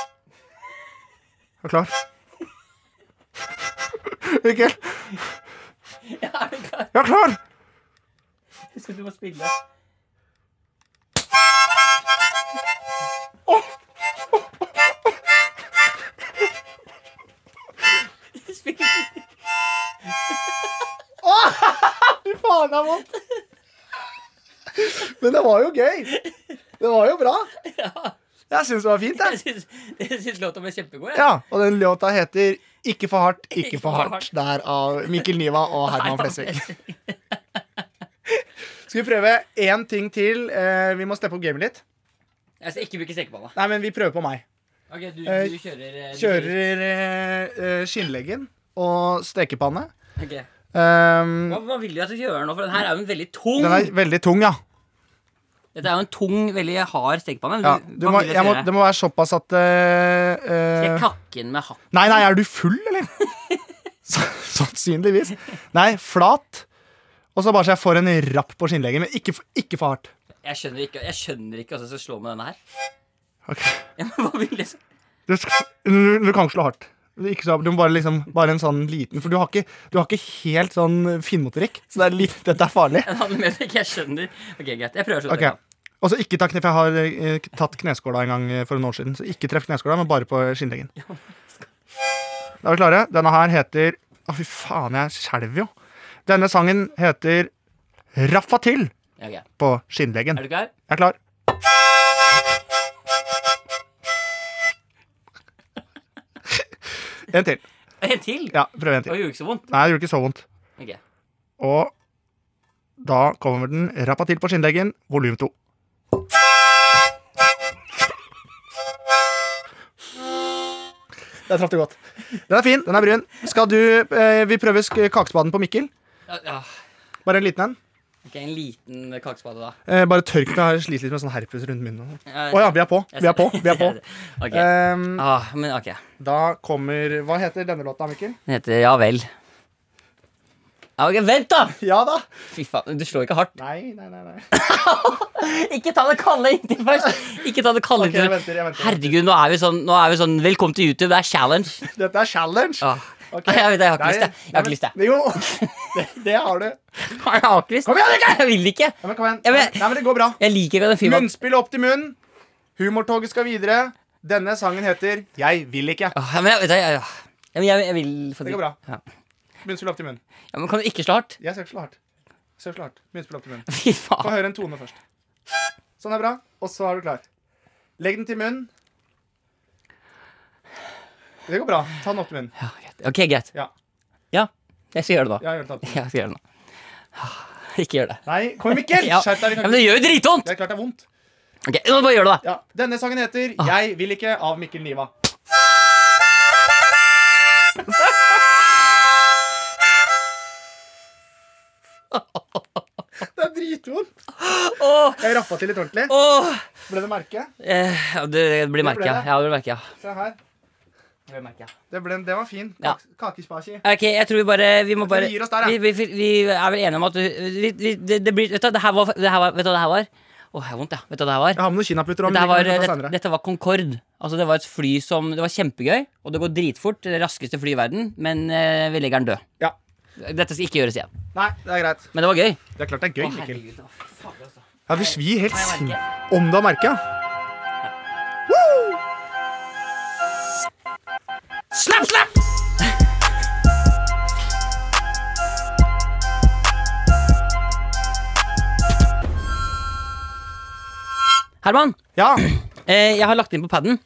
Speaker 3: Jeg er klar. Mikkel,
Speaker 2: Ja, er du klar?
Speaker 3: jeg er klar!
Speaker 2: Husk at du må spille. Spill.
Speaker 3: Fy faen, det er vondt! Men det var jo gøy. Det var jo bra. Jeg syns det var fint,
Speaker 2: Jeg
Speaker 3: jeg.
Speaker 2: syns, jeg syns låta ble kjempegod. jeg.
Speaker 3: Ja, og den låta heter Ikke for hardt, ikke for hardt. Der av Mikkel Niva og Herman
Speaker 2: Herman
Speaker 3: Flesvig. Skal vi prøve én ting til? Eh, vi må steppe opp gamet litt.
Speaker 2: Jeg skal Altså, ikke bruke stekepanna.
Speaker 3: Nei, men vi prøver på meg.
Speaker 2: Ok, du,
Speaker 3: Eh,
Speaker 2: du kjører eh, du
Speaker 3: Kjører eh, eh, skinnleggen og stekepanne.
Speaker 2: Ok.
Speaker 3: Um,
Speaker 2: Hva, hva vil du at du skal gjøre nå? For den her er jo en veldig tung
Speaker 3: den er veldig tung, ja.
Speaker 2: Dette er jo en tung, veldig hard stekepanne.
Speaker 3: ja.
Speaker 2: Du-
Speaker 3: Du
Speaker 2: hva
Speaker 3: må,
Speaker 2: vil
Speaker 3: jeg må,
Speaker 2: gjøre?
Speaker 3: det må være såpass at eh,
Speaker 2: Skal
Speaker 3: eh,
Speaker 2: jeg kakke den med hakk?
Speaker 3: Nei, nei, er du full, eller? Så- Sannsynligvis. Nei, flat. Og så bare så jeg får en rapp på skinnleggen, men ikke, for- ikke for hardt.
Speaker 2: Jeg skjønner ikke, jeg skjønner ikke at jeg skal slå med denne her.
Speaker 3: Ok.
Speaker 2: Ja, men hva vil jeg s-
Speaker 3: Du, skal- du, du kan ikke slå hardt. Det er Ikke så, du må bare, liksom, bare en sånn liten For du har ikke, du har ikke helt sånn finmotorikk, så det er litt, dette er farlig.
Speaker 2: Det handler mer om ikke jeg skjønner. Ok, greit. Jeg prøver å skjønne.
Speaker 3: Ok, Og så ikke ta kne, for jeg har eh, tatt kneskåla en gang eh, for noen år siden. Så ikke treff kneskåla, men bare på skinnleggen. Da er vi klare. Denne her heter Å, fy faen, jeg skjelver jo. Denne sangen heter Raffa til
Speaker 2: det. Ok,
Speaker 3: på skinnleggen.
Speaker 2: Er du klar?
Speaker 3: Jeg er klar. En til.
Speaker 2: En til?
Speaker 3: Ja, prøv en
Speaker 2: Det
Speaker 3: til.
Speaker 2: gjorde ikke så vondt.
Speaker 3: Nei, det gjorde ikke så vondt.
Speaker 2: Ok.
Speaker 3: Og da kommer den rappa til på skinnleggen, volum to. Der traff du godt. Den er fin, den er brun. Skal du eh, Vi prøver sk- kakespaden på Mikkel.
Speaker 2: Ja, ja.
Speaker 3: Bare en liten en.
Speaker 2: Ok, En liten kakespade, da.
Speaker 3: Eh, bare tørk meg. Jeg sliter litt med sånn herpes rundt munnen. Å
Speaker 2: Å
Speaker 3: ja, vi er på. Vi er på. Vi er på.
Speaker 2: ok.
Speaker 3: Ehm,
Speaker 2: Ah, men ok.
Speaker 3: da kommer Hva heter denne låta, Mikkel?
Speaker 2: Den heter Ja vel. Ja, ok, Vent, da!
Speaker 3: Ja da!
Speaker 2: Fy faen, Du slår ikke hardt.
Speaker 3: Nei, nei, nei. nei.
Speaker 2: Ikke ta det kalde inntil først! Ikke ta det kalde
Speaker 3: Ok, jeg
Speaker 2: inntil
Speaker 3: venter, jeg venter.
Speaker 2: Herregud, nå er, vi sånn, nå er vi sånn Velkommen til YouTube, det er challenge.
Speaker 3: Dette er challenge.
Speaker 2: Ah.
Speaker 3: Ok.
Speaker 2: Nei, jeg vet det, jeg har ikke
Speaker 3: Nei,
Speaker 2: lyst, jeg. Jeg har ikke lyst, jeg.
Speaker 3: nei, men- Jo, det, det har du.
Speaker 2: Jeg har ikke lyst.
Speaker 3: Kom igjen, Mikkel!
Speaker 2: Jeg vil ikke.
Speaker 3: Ja, men kom igjen.
Speaker 2: Ja, men-
Speaker 3: Nei, men det går bra.
Speaker 2: Jeg liker ikke den filmen.
Speaker 3: Munnspill opp til munn. Humortoget skal videre. Denne sangen heter Jeg vil ikke.
Speaker 2: Åh, Ah, ja, men jeg, vet du, jeg, ja. Ja, men jeg, jeg vil få
Speaker 3: Det går bra.
Speaker 2: Ja.
Speaker 3: Munnspill opp til munn.
Speaker 2: ja, men Kan du ikke slå hardt?
Speaker 3: Jeg skal ikke slå hardt. Jeg skal ikke slå hardt. Munnspill opp til munn.
Speaker 2: Fy
Speaker 3: Få
Speaker 2: faen.
Speaker 3: høre en tone først. Sånn er bra. Og så er du klar. Legg den til munnen. Det går bra. Ta den opp til munnen.
Speaker 2: Ja, greit. Ok, greit.
Speaker 3: Ja.
Speaker 2: Ja, jeg skal gjøre det nå.
Speaker 3: Jeg gjør det tatt.
Speaker 2: Jeg skal gjøre det nå. Ah, Ikke gjør det.
Speaker 3: Nei, kom igjen, Mikkel!
Speaker 2: Ja.
Speaker 3: Skjerp deg.
Speaker 2: Ja,
Speaker 3: Vi
Speaker 2: men
Speaker 3: kan
Speaker 2: det
Speaker 3: ikke.
Speaker 2: gjør jo dritvondt!
Speaker 3: Det er klart det er vondt.
Speaker 2: Ok, nå må du bare gjør det, da.
Speaker 3: Ja. Denne sangen heter
Speaker 2: Ah.
Speaker 3: Jeg vil ikke av Mikkel Niva. Det er dritvondt.
Speaker 2: Åh,
Speaker 3: Jeg rappa til litt ordentlig.
Speaker 2: åh.
Speaker 3: Ble det merke?
Speaker 2: Eh, ja, det blir merket, ja. Ja, det blir merket, ja.
Speaker 3: Se her.
Speaker 2: Det blir merket, ja.
Speaker 3: Det, ble, det var fin.
Speaker 2: Ja.
Speaker 3: Kak- Kakespasi.
Speaker 2: Ok, jeg tror vi bare Vi må
Speaker 3: tror
Speaker 2: bare
Speaker 3: vi gir oss der, ja.
Speaker 2: vi, vi, vi, er vel enige om at du, vi, vi, det, det blir Vet du, det her var det her var- Vet du hva det her var? Åh, jeg har vondt, ja. Vet du hva det her var?
Speaker 3: Jeg har med noen kinaputter. om,
Speaker 2: Dette, her
Speaker 3: men
Speaker 2: var,
Speaker 3: vi kan ta
Speaker 2: dette,
Speaker 3: senere.
Speaker 2: dette var Concorde. Altså det var et fly som Det var kjempegøy, og det går dritfort. Det raskeste fly i verden, men eh, vi legger den død.
Speaker 3: Ja.
Speaker 2: Dette skal ikke gjøres igjen.
Speaker 3: Nei, det er greit.
Speaker 2: Men det var gøy.
Speaker 3: Det er klart det er gøy,
Speaker 2: Å,
Speaker 3: Mikkel.
Speaker 2: herregud, å, fader, altså.
Speaker 3: Ja, vi svir helt
Speaker 2: jeg
Speaker 3: sin...
Speaker 2: merker.
Speaker 3: Om du har merka?
Speaker 2: Slapp, slapp! Herman,
Speaker 3: Ja.
Speaker 2: eh, jeg har lagt inn på paden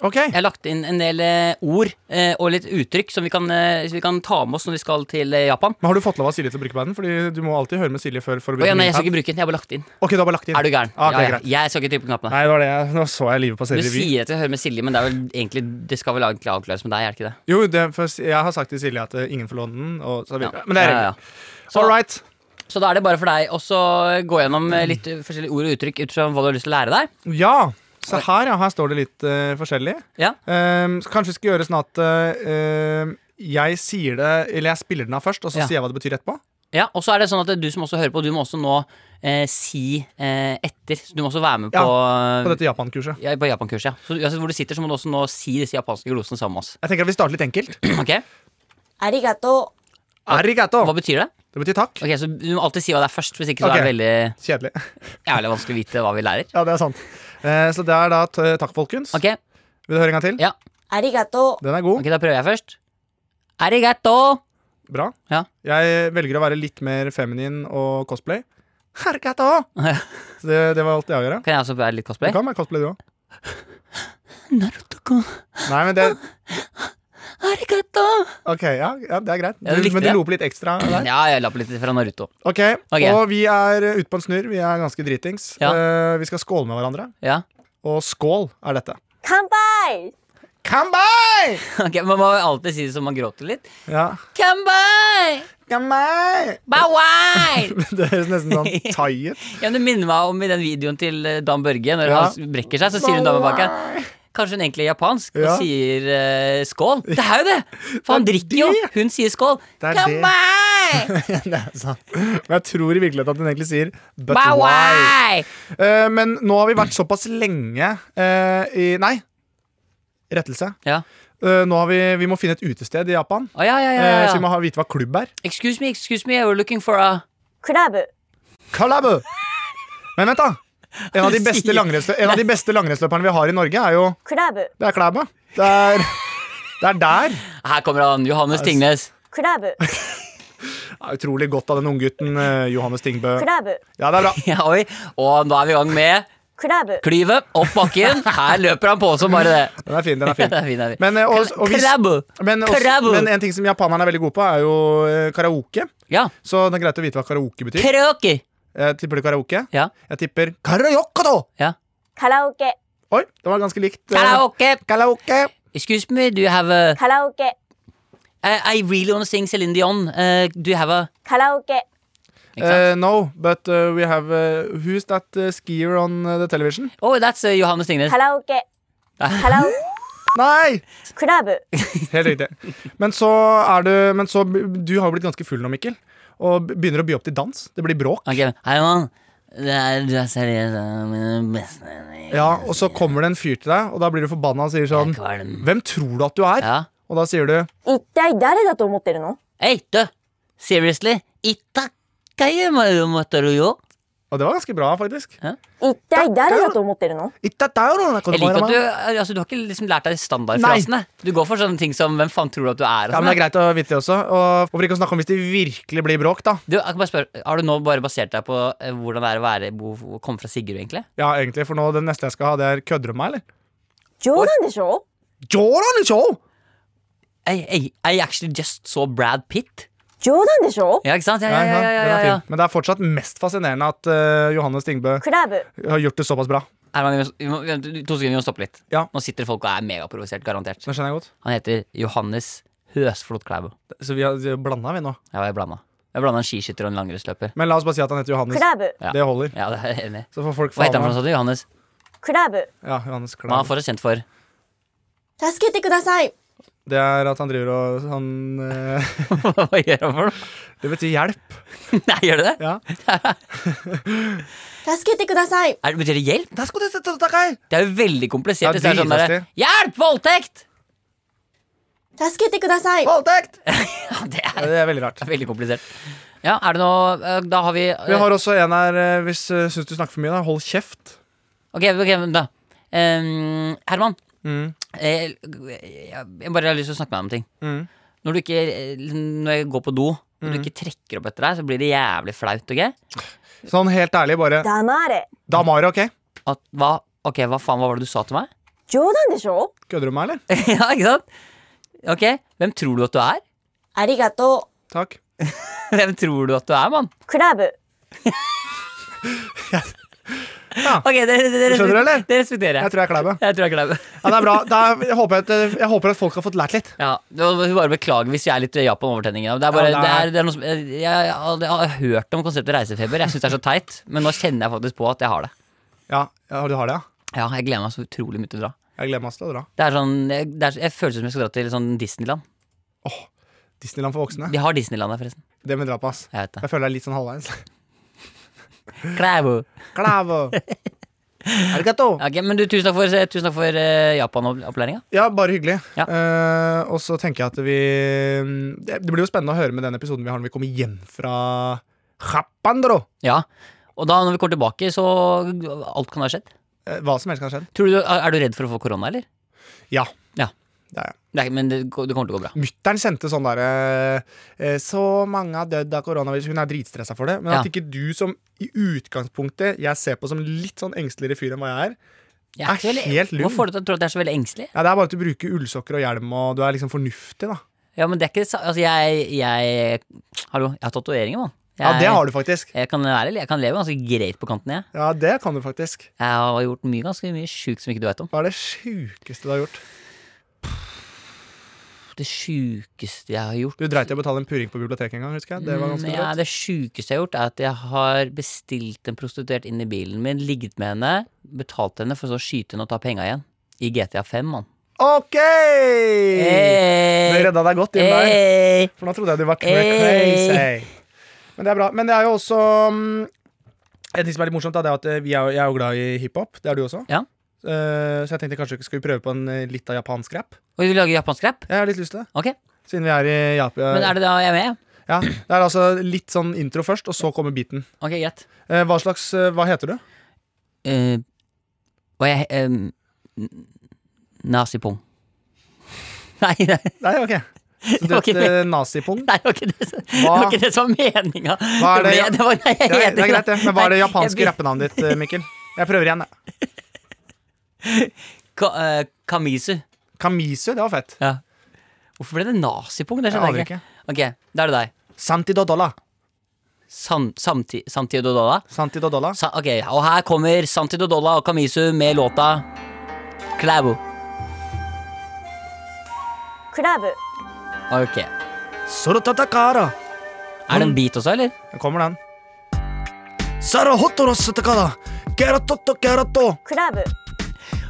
Speaker 3: OK.
Speaker 2: Jeg har lagt inn en del eh, ord eh, og litt uttrykk som vi kan, eh, som vi kan ta med oss når vi skal til eh, Japan.
Speaker 3: Men Har du fått lov av Silje til å bruke paden? Fordi du må alltid høre med Silje før. For å
Speaker 2: Å ja,
Speaker 3: bruke
Speaker 2: nei,
Speaker 3: min
Speaker 2: jeg skal
Speaker 3: pad.
Speaker 2: ikke bruke den. Jeg har bare lagt inn.
Speaker 3: Ok, du har bare lagt inn.
Speaker 2: Er du gæren?
Speaker 3: Ah, Ok,
Speaker 2: ja, ja.
Speaker 3: greit.
Speaker 2: Jeg skal ikke trykke på knappene.
Speaker 3: Nei, det var det jeg, nå så jeg livet på
Speaker 2: Du
Speaker 3: Selje revy.
Speaker 2: sier at jeg hører med Silje, men det, er vel egentlig, det skal vel egentlig avklares med deg? er det ikke det?
Speaker 3: Jo, det, for jeg har sagt til Silje at eh, ingen får låne den, og så
Speaker 2: Ja.
Speaker 3: videre. Men det er
Speaker 2: Ja, ja,
Speaker 3: regler.
Speaker 2: ja. Så,
Speaker 3: All right.
Speaker 2: så da er det bare for deg å så gå gjennom eh, litt eh, forskjellige ord og uttrykk ut fra hva du har lyst til å lære deg.
Speaker 3: Ja. Se her, ja. Her står det litt eh, forskjellig.
Speaker 2: Ja.
Speaker 3: Ehm, så kanskje vi skal gjøre sånn at eh, ehm, jeg sier det Eller jeg spiller den av først, og så
Speaker 2: Ja.
Speaker 3: sier jeg hva det betyr etterpå.
Speaker 2: Ja, og så er det sånn at du som også hører på, du må også nå eh, si eh, etter. Du må også være med
Speaker 3: Ja,
Speaker 2: på,
Speaker 3: På dette Japan-kurset.
Speaker 2: ja, på Japan-kurset. Ja. Så uansett hvor du sitter, så må du også nå si disse japanske glosene sammen med oss.
Speaker 3: Jeg tenker at vi starter litt enkelt.
Speaker 2: Ok?
Speaker 7: Arigato.
Speaker 3: Arigato.
Speaker 2: Hva betyr det?
Speaker 3: Det betyr takk.
Speaker 2: Ok, så Du må alltid si hva det er først, hvis ikke så
Speaker 3: Ok.
Speaker 2: er det veldig
Speaker 3: Kjedelig.
Speaker 2: jævlig vanskelig å vite hva vi lærer.
Speaker 3: Ja, det er sant. Eh, så det er da t takk, folkens.
Speaker 2: Ok,
Speaker 3: Vil du høre en gang til?
Speaker 2: Ja.
Speaker 7: Arigato.
Speaker 3: Den er god.
Speaker 2: ok, da prøver jeg først. Arigato!
Speaker 3: Bra.
Speaker 2: Ja.
Speaker 3: Jeg velger å være litt mer feminin og cosplay. Arigato! Så det, det var alt jeg gjorde.
Speaker 2: Kan jeg også være litt
Speaker 3: Du
Speaker 2: cosplay?
Speaker 3: kan være cosplay, du òg.
Speaker 2: Naruto-kun.
Speaker 3: Nei, men det
Speaker 2: Arigato!
Speaker 3: Ok, ja, ja det er greit.
Speaker 2: Ja, du
Speaker 3: Du,
Speaker 2: likte
Speaker 3: men du
Speaker 2: det.
Speaker 3: lo på litt ekstra der.
Speaker 2: Ja, jeg la på litt fra Naruto.
Speaker 3: Ok,
Speaker 2: Ok.
Speaker 3: og vi er ute på en snurr. Vi er ganske dritings.
Speaker 2: Ja.
Speaker 3: Eh, vi skal skåle med hverandre,
Speaker 2: Ja.
Speaker 3: og skål er dette.
Speaker 7: Kanpai.
Speaker 3: Kambai!
Speaker 2: Ok, Man må jo alltid si det som man gråter litt.
Speaker 3: Ja.
Speaker 2: Kambai!
Speaker 3: Kambai!
Speaker 2: Bawai!
Speaker 3: Det høres nesten sånn thai ut.
Speaker 2: Ja, men det minner meg om i den videoen til eh, Dan Børge. Når
Speaker 3: Ja.
Speaker 2: han brekker seg, så sier hun dama bak her Kanskje hun egentlig er japansk
Speaker 3: Ja.
Speaker 2: og sier eh, skål. Det er jo det! For han
Speaker 3: Det er
Speaker 2: drikker jo.
Speaker 3: det.
Speaker 2: Hun sier skål.
Speaker 3: Det er det.
Speaker 2: Kambai!
Speaker 3: Det er sant. Men jeg tror i virkeligheten at hun egentlig sier but why.
Speaker 2: Bawai!
Speaker 3: Eh, men nå har vi vært såpass lenge eh, i Nei, rettelse.
Speaker 2: Ja.
Speaker 3: Eh, nå har vi, vi må finne et utested i Japan,
Speaker 2: Å, ja, ja, ja,
Speaker 3: eh, så
Speaker 2: ja,
Speaker 3: vi må
Speaker 2: ja.
Speaker 3: ha, vite hva klubb er.
Speaker 2: Excuse me, excuse me, we're looking for a
Speaker 7: Club.
Speaker 3: Kalabu! Men vent, da. En av de beste,
Speaker 2: Sier-
Speaker 3: langrennslø- en av de beste langrennsløperne vi har i Norge, er jo
Speaker 7: Club.
Speaker 3: Det er Klæbu. Det er, det er der.
Speaker 2: Her kommer han, Johannes Tingnes.
Speaker 7: Club.
Speaker 3: Ja, utrolig godt av den unggutten eh, Johannes Tingbø.
Speaker 7: Club.
Speaker 3: Ja, det er bra.
Speaker 2: Ja, oi. Og nå er vi i gang med
Speaker 7: Club.
Speaker 2: klyvet opp bakken. Her løper han på som bare det.
Speaker 3: Den er fin. den er
Speaker 2: Ja,
Speaker 3: fin
Speaker 2: det er fint, det er fint.
Speaker 3: Men, eh, og, og hvis,
Speaker 2: Krabu.
Speaker 3: men, også,
Speaker 2: Krabu.
Speaker 3: men en ting som japanerne er veldig gode på, er jo eh, karaoke.
Speaker 2: Ja.
Speaker 3: Så det er greit å vite hva karaoke betyr.
Speaker 2: Karaoke.
Speaker 3: Jeg Eh, tipper du karaoke?
Speaker 2: Ja.
Speaker 3: Jeg tipper karaoke, da!
Speaker 2: ja.
Speaker 7: Karaoke.
Speaker 3: Oi, det var ganske likt. eh,
Speaker 2: Karaoke.
Speaker 3: Karaoke.
Speaker 2: Excuse me, do you have a
Speaker 7: Karaoke.
Speaker 2: I, I really wanna sing Celine Dion. Uh, do Eh, you have a
Speaker 7: Karaoke.
Speaker 2: Ikke sant?
Speaker 3: Eh, no, but uh, we have uh, Who's that uh, skier on uh, the television?
Speaker 2: oh, that's uh, Johannes Tingnes.
Speaker 7: カラオケ
Speaker 2: あ
Speaker 7: カラオ
Speaker 3: Nei!
Speaker 7: クラブ
Speaker 3: Helt riktig. Men så er du Men så Du har jo blitt ganske full nå, Mikkel. Og begynner å by opp til dans. Det blir bråk.
Speaker 2: Ok, Herman, det er, du er seriøst en av mine beste venner.
Speaker 3: Ja, Og så kommer det en fyr til deg, og da blir du forbanna og sier sånn
Speaker 2: Kvalm.
Speaker 3: Hvem tror du at du er?
Speaker 2: Ja.
Speaker 3: Og da sier du
Speaker 7: 一体誰だと思ってるの
Speaker 2: Hei, du! Seriously? Itakayemarumataruyo?
Speaker 3: Og det var ganske bra, faktisk.
Speaker 7: 一体誰だと思ってるの
Speaker 3: Jeg
Speaker 2: Jeg liker at du altså, Du har ikke liksom lært deg standardfrasene. Du går for sånne ting som 'Hvem faen tror du at du er?' og
Speaker 3: Ja, men
Speaker 2: sånn.
Speaker 3: Det er greit å vite det også. Og hvorfor ikke å snakke om hvis det virkelig blir bråk, da?
Speaker 2: Du, jeg kan bare spørre, Har du nå bare basert deg på eh, hvordan det er å være, bo, å komme fra Sigurd, egentlig?
Speaker 3: Ja, egentlig, for nå det neste jeg skal ha, det er Kødder du med meg, eller?
Speaker 7: 冗談でしょ
Speaker 3: Jordan Show!
Speaker 2: I, I, I actually just saw Brad Pitt.
Speaker 7: 冗談でしょ
Speaker 2: Ja, ikke sant? Ja, ja,
Speaker 3: Ja,
Speaker 2: ja,
Speaker 3: ikke
Speaker 2: ja,
Speaker 3: sant? Den
Speaker 2: ja,
Speaker 3: er
Speaker 2: ja.
Speaker 3: fin. Men det er fortsatt mest fascinerende at eh, Johannes Tingbø
Speaker 7: クラブ
Speaker 3: har gjort det såpass bra.
Speaker 2: Herman, vi må- vi må, vi må- to sekunder, vi må stoppe litt.
Speaker 3: Ja.
Speaker 2: Nå sitter folk og er megaprovosert, garantert.
Speaker 3: Det skjønner jeg godt.
Speaker 2: Han heter Johannes Høsflot Klæbo.
Speaker 3: Så vi har blanda, vi nå.
Speaker 2: Ja, jeg blanda. Jeg blanda en skiskytter og en langrennsløper.
Speaker 3: Men la oss bare si at han heter
Speaker 7: ク
Speaker 3: Johannes.
Speaker 7: ラブ
Speaker 2: ラブ
Speaker 3: Det holder.
Speaker 2: Ja, det er jeg enig i.
Speaker 3: Så får folk
Speaker 2: Hva heter han
Speaker 3: faen
Speaker 2: for noe sånt? Johannes?
Speaker 7: クラブ
Speaker 3: meg- Ja, Johannes
Speaker 2: Hva er han
Speaker 3: Klein.
Speaker 2: for og kjent for?
Speaker 7: 助けてください
Speaker 3: Det er at han driver og han eh,
Speaker 2: Hva gjør han for noe?
Speaker 3: Det betyr hjelp.
Speaker 2: Nei, gjør det det?
Speaker 3: Ja.
Speaker 7: 助けてください
Speaker 2: Er det betyr det hjelp?
Speaker 3: Der skulle du sette deg, Kai!
Speaker 2: Det er jo veldig komplisert.
Speaker 3: Ja,
Speaker 2: hvis det er sånn der,
Speaker 3: dritkjedelig.
Speaker 2: Hjelp! Voldtekt!
Speaker 7: 助けてください
Speaker 3: Voldtekt!
Speaker 2: Ja, det er
Speaker 3: Ja, Det er veldig rart.
Speaker 2: veldig komplisert. Ja, er det noe eh, Da har vi eh,
Speaker 3: Vi har også en her eh, hvis du syns du snakker for mye, da. Hold
Speaker 2: eh,
Speaker 3: kjeft.
Speaker 2: Ok, ok, men da. Ehm, Herman,
Speaker 3: Mm.
Speaker 2: eh, jeg jeg bare har lyst til å snakke med deg om en ting.
Speaker 3: Mm.
Speaker 2: Når du ikke eh, Når jeg går på do, og du ikke trekker opp etter deg, så blir det jævlig flaut, OK?
Speaker 3: Sånn helt ærlig, bare
Speaker 7: 黙れ
Speaker 3: Damare, OK?
Speaker 2: At hva Ok, hva faen hva var det du sa til meg?
Speaker 7: 冗談でしょ
Speaker 3: Kødder du med meg, eller?
Speaker 2: ja, ikke sant? Ok, hvem tror du at du er?
Speaker 7: ありがと
Speaker 3: Takk.
Speaker 2: Hvem tror du at du er, mann?
Speaker 7: うクラブ
Speaker 2: Ok, det, det, det,
Speaker 3: Skjønner du, eller?
Speaker 2: det respekterer
Speaker 3: Jeg
Speaker 2: jeg.
Speaker 3: tror jeg er kleib.
Speaker 2: Jeg tror jeg er klein.
Speaker 3: Ja, det er bra. Da, jeg, håper at, jeg håper at folk har fått lært litt.
Speaker 2: Ja, det var- jeg bare beklager hvis jeg er litt Japan-overtenning. ja. Det er bare,
Speaker 3: Ja,
Speaker 2: det
Speaker 3: nei.
Speaker 2: er, det er noe som, jeg, jeg, har- jeg har hørt om konseptet reisefeber. Jeg syns det er så teit, men nå kjenner jeg faktisk på at jeg har det.
Speaker 3: Ja, ja, du har det, ja?
Speaker 2: Ja, jeg gleder meg så utrolig mye til å dra.
Speaker 3: Jeg gleder meg til å dra.
Speaker 2: Det er sånn, jeg- det er, jeg føles som jeg skal dra til sånn Disneyland.
Speaker 3: Disneyland for voksne.
Speaker 2: De har Disneyland der, forresten.
Speaker 3: Det må vi dra på, ass.
Speaker 2: Jeg vet det.
Speaker 3: Jeg føler jeg er litt sånn halvveis.
Speaker 2: Klæbo.
Speaker 3: Klavo. Arigato.
Speaker 2: Ok, men du, tusen takk for, tusen takk for eh, Japan-opplæringa.
Speaker 3: Ja, bare hyggelig.
Speaker 2: Ja.
Speaker 3: Eh, og så tenker jeg at vi Det det blir jo spennende å høre med den episoden vi har når vi kommer hjem fra Japandro.
Speaker 2: Ja. Og da når vi kommer tilbake, så alt kan ha skjedd.
Speaker 3: Eh, hva som helst kan ha skjedd.
Speaker 2: Tror du, er du redd for å få korona, eller?
Speaker 3: Ja.
Speaker 2: Ja.
Speaker 3: Det er jeg.
Speaker 2: Nei, men det, det kommer til å gå bra.
Speaker 3: Mutter'n sendte sånn derre eh, Så mange har dødd av koronavirus. Hun er dritstressa for det. Men
Speaker 2: Ja.
Speaker 3: at ikke du som i utgangspunktet jeg ser på som litt sånn engsteligere fyr enn hva jeg er
Speaker 2: Jeg
Speaker 3: Er
Speaker 2: ikke så veldig-
Speaker 3: helt lun.
Speaker 2: Hvorfor får du til å tro at jeg er så veldig engstelig?
Speaker 3: Ja, Det er bare at du bruker ullsokker og hjelm, og du er liksom fornuftig, da.
Speaker 2: Ja, men det er ikke det sa- Altså, jeg, jeg Hallo, jeg har tatoveringer, mann.
Speaker 3: Ja, det har du faktisk.
Speaker 2: Jeg kan, være, jeg kan leve ganske greit på kanten, jeg.
Speaker 3: Ja, det kan du faktisk.
Speaker 2: Jeg har gjort mye ganske mye sjukt som ikke du veit om.
Speaker 3: Hva er det sjukeste du har gjort?
Speaker 2: Det sjukeste jeg har gjort
Speaker 3: Du dreit i å betale en puring på biblioteket en gang, husker jeg. Det var ganske
Speaker 2: Mm, ja,
Speaker 3: drøyt.
Speaker 2: Det sjukeste jeg har gjort, er at jeg har bestilt en prostituert inn i bilen min, ligget med henne, betalt henne, for så å skyte henne og ta penga igjen. I GTA5, mann.
Speaker 3: OK! Det
Speaker 2: Eh, Hey!
Speaker 3: redda deg godt inn der.
Speaker 2: Hey!
Speaker 3: For nå trodde jeg du var cra-
Speaker 2: Hey.
Speaker 3: crazy. Men det er bra. Men det er jo også mm, En ting som er litt morsomt, da, det er at eh, vi er, jo- jeg er jo glad i hiphop. Det er du også.
Speaker 2: Ja.
Speaker 3: Eh, så jeg tenkte kanskje skal vi prøve på en eh, litt av japansk rap.
Speaker 2: Oi, du lager japansk rap?
Speaker 3: Jeg har litt lyst til det.
Speaker 2: Ok.
Speaker 3: Siden vi er i Japan.
Speaker 2: Men er det da jeg er med?
Speaker 3: Ja, det er altså litt sånn intro først, og så kommer beaten.
Speaker 2: Ok, greit.
Speaker 3: Eh, hva slags eh, Hva heter du?
Speaker 2: Eh, og jeg um, Nazipung. Nei, nei,
Speaker 3: Nei, OK. Så du
Speaker 2: Ok,
Speaker 3: heter eh, Nazipung?
Speaker 2: nei, det var ikke det, som- det
Speaker 3: Hva?
Speaker 2: var ikke det som var meninga.
Speaker 3: Hva er det-
Speaker 2: ble- var, nei, jeg
Speaker 3: Det er,
Speaker 2: heter
Speaker 3: det er greit, det. Men hva er det
Speaker 2: Nei,
Speaker 3: japanske
Speaker 2: jeg-
Speaker 3: rappenavnet ditt, eh, Mikkel? Jeg prøver igjen. jeg.
Speaker 2: Ka, eh, Kamisu.
Speaker 3: Kamisu, det var fett.
Speaker 2: Ja. Hvorfor ble det nazipung? Det
Speaker 3: Jeg
Speaker 2: skjønner
Speaker 3: aner
Speaker 2: jeg ikke.
Speaker 3: ikke.
Speaker 2: Ok, Da er det deg.
Speaker 3: Santidodola.
Speaker 2: Sam, samti, Samtidodola.
Speaker 3: Santidodola.
Speaker 2: Sa, ok, Og her kommer Santidodola og Kamisu med låta Klæbo.
Speaker 7: クラブ
Speaker 2: Ok.
Speaker 3: Sorotatakara.
Speaker 2: Er det en beat også, eller?
Speaker 3: Her kommer den. サラホトロスとかだゲラトットゲラト
Speaker 7: クラブ、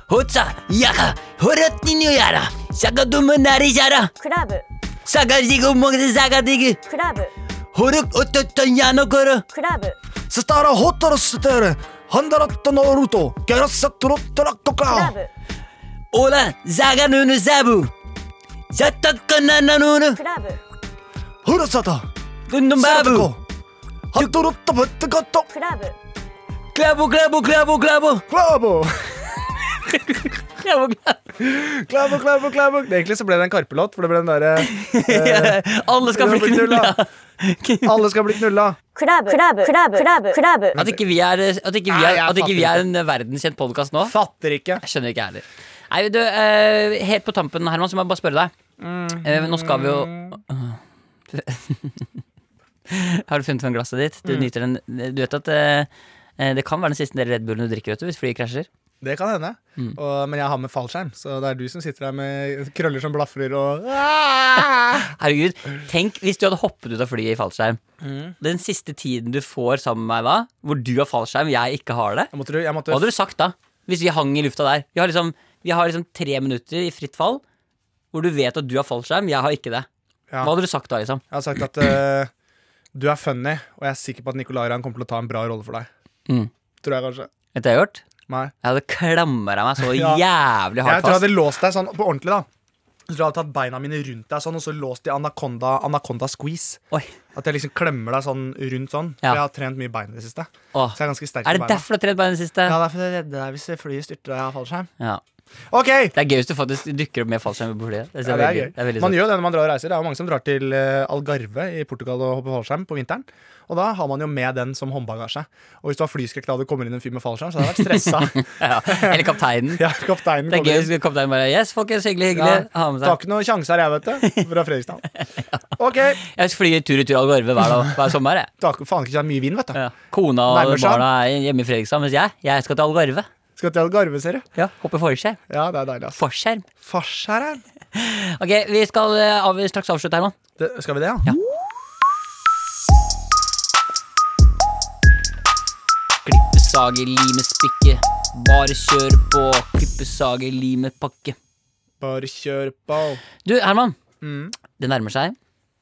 Speaker 2: Hotsa, jaka, horatni nyara, saka dumanari jara,
Speaker 7: クラブ、
Speaker 2: saka digu mogde saka digu,
Speaker 7: クラブ、
Speaker 2: horuk ototo nyano koro,
Speaker 7: クラブ、
Speaker 3: スタラホトロステルハンダラットノルトゲラサトロットラット
Speaker 7: クラ
Speaker 3: か
Speaker 7: ブ、
Speaker 2: ola saka nunu sabu, sata kanana nunu,
Speaker 7: クラブ、
Speaker 3: ふるさと
Speaker 2: dundum
Speaker 3: サラト
Speaker 2: babu,
Speaker 3: コハトロットブッテガット
Speaker 7: クラブ、
Speaker 2: klabu klabu klabu klabu,
Speaker 3: クラ ブ
Speaker 2: klabu klabu.
Speaker 3: Klabb og klabb og klabb og- Egentlig så ble det en Karpe-låt, for det ble den derre Eh,
Speaker 2: Alle skal bli
Speaker 3: Klabu,
Speaker 2: knulla.
Speaker 3: Alle skal bli knulla.
Speaker 7: クラブ、クラブ、クラブ、クラブ、クラブ、
Speaker 2: At ikke vi er, at ikke vi
Speaker 3: Nei,
Speaker 2: er,
Speaker 3: jeg
Speaker 2: at ikke vi er
Speaker 3: fatter
Speaker 2: en verdenskjent podkast nå,
Speaker 3: Fatter ikke.
Speaker 2: jeg skjønner ikke jeg heller. Nei, du, eh, helt på tampen, Herman, så må jeg bare spørre deg. Eh, nå skal vi jo Har du funnet fram glasset ditt? Du nyter den Du vet at eh, eh, det kan være den siste delen Red Bullen du drikker vet du, hvis flyet krasjer.
Speaker 3: Det kan hende.
Speaker 2: Mm.
Speaker 3: Og, men jeg har med fallskjerm, så det er du som sitter der med krøller som blafrer og
Speaker 2: Ah! Herregud, Tenk hvis du hadde hoppet ut av flyet i fallskjerm. Den siste tiden du får sammen med meg da, hvor du har fallskjerm, jeg ikke har det.
Speaker 3: Jeg måtte, jeg måtte
Speaker 2: Hva hadde du sagt da? Hvis vi hang i lufta der. Vi har liksom, vi har liksom tre minutter i fritt fall hvor du vet at du har fallskjerm, jeg har ikke det.
Speaker 3: Ja.
Speaker 2: Hva hadde du sagt da, liksom?
Speaker 3: Jeg har sagt at eh, du er funny, og jeg er sikker på at Nicolai Ramm kommer til å ta en bra rolle for deg.
Speaker 2: Mm.
Speaker 3: Tror jeg kanskje.
Speaker 2: Vet du hva jeg har gjort?
Speaker 3: Nei.
Speaker 2: Jeg hadde klamra meg så
Speaker 3: Ja.
Speaker 2: jævlig
Speaker 3: Jeg
Speaker 2: hardt
Speaker 3: tror
Speaker 2: fast.
Speaker 3: jeg hadde låst deg sånn på ordentlig, da. Jeg tror jeg hadde tatt beina mine rundt deg sånn, og så låst i anaconda, anaconda squeeze.
Speaker 2: Oi.
Speaker 3: At jeg liksom klemmer deg sånn rundt sånn.
Speaker 2: Ja.
Speaker 3: For jeg har trent mye bein i det siste.
Speaker 2: Åh.
Speaker 3: Så jeg er ganske sterk
Speaker 2: Er
Speaker 3: i
Speaker 2: det
Speaker 3: beina.
Speaker 2: derfor du har trent bein i det siste?
Speaker 3: Ja, derfor jeg redder deg hvis flyet styrter og jeg har fallskjerm.
Speaker 2: Ja.
Speaker 3: OK!
Speaker 2: Det er gøy hvis du faktisk dukker opp med fallskjerm på flyet. Det,
Speaker 3: Ja,
Speaker 2: ser
Speaker 3: det er
Speaker 2: veldig,
Speaker 3: gøy.
Speaker 2: det er veldig sånn.
Speaker 3: man
Speaker 2: søtt.
Speaker 3: gjør jo det når man drar og reiser. Det er jo mange som drar til eh, Algarve i Portugal og hopper fallskjerm på vinteren. Og da har man jo med den som håndbagasje. Og hvis du har flyskrekk da du kommer inn en fyr med fallskjerm, så hadde jeg vært stressa.
Speaker 2: ja. Eller kapteinen.
Speaker 3: ja, kapteinen
Speaker 2: Det er
Speaker 3: kommer
Speaker 2: gøy
Speaker 3: inn.
Speaker 2: hvis kapteinen bare Yes, folkens, hyggelig, hyggelig.
Speaker 3: Ja.
Speaker 2: Ha med
Speaker 3: Tar
Speaker 2: seg.
Speaker 3: ikke noen sjanser her, jeg, vet du. Fra Fredrikstad. OK.
Speaker 2: Jeg flyr tur i tur Algarve hver, dag- hver sommer, jeg.
Speaker 3: Tar ikke- faen ikke så mye vin, vet du.
Speaker 2: Ja. Kona og
Speaker 3: Nærmer seg.
Speaker 2: barna er hjemme i Fredrikstad, mens jeg, jeg skal til Algarve.
Speaker 3: Skal til Algarve, ser du.
Speaker 2: Ja. Hoppe forskjerm.
Speaker 3: Ja, det er deilig, ass.
Speaker 2: Forskjerm.
Speaker 3: Farskjæreren.
Speaker 2: Ok, vi skal eh, av, straks avslutte, Herman.
Speaker 3: Det- Skal vi det, ja?
Speaker 2: Ja. Klippesage, lime, spikke. Bare kjør på. Klippesage, lime, pakke.
Speaker 3: Bare kjør på.
Speaker 2: Du, Herman.
Speaker 3: Mm.
Speaker 2: Det nærmer seg.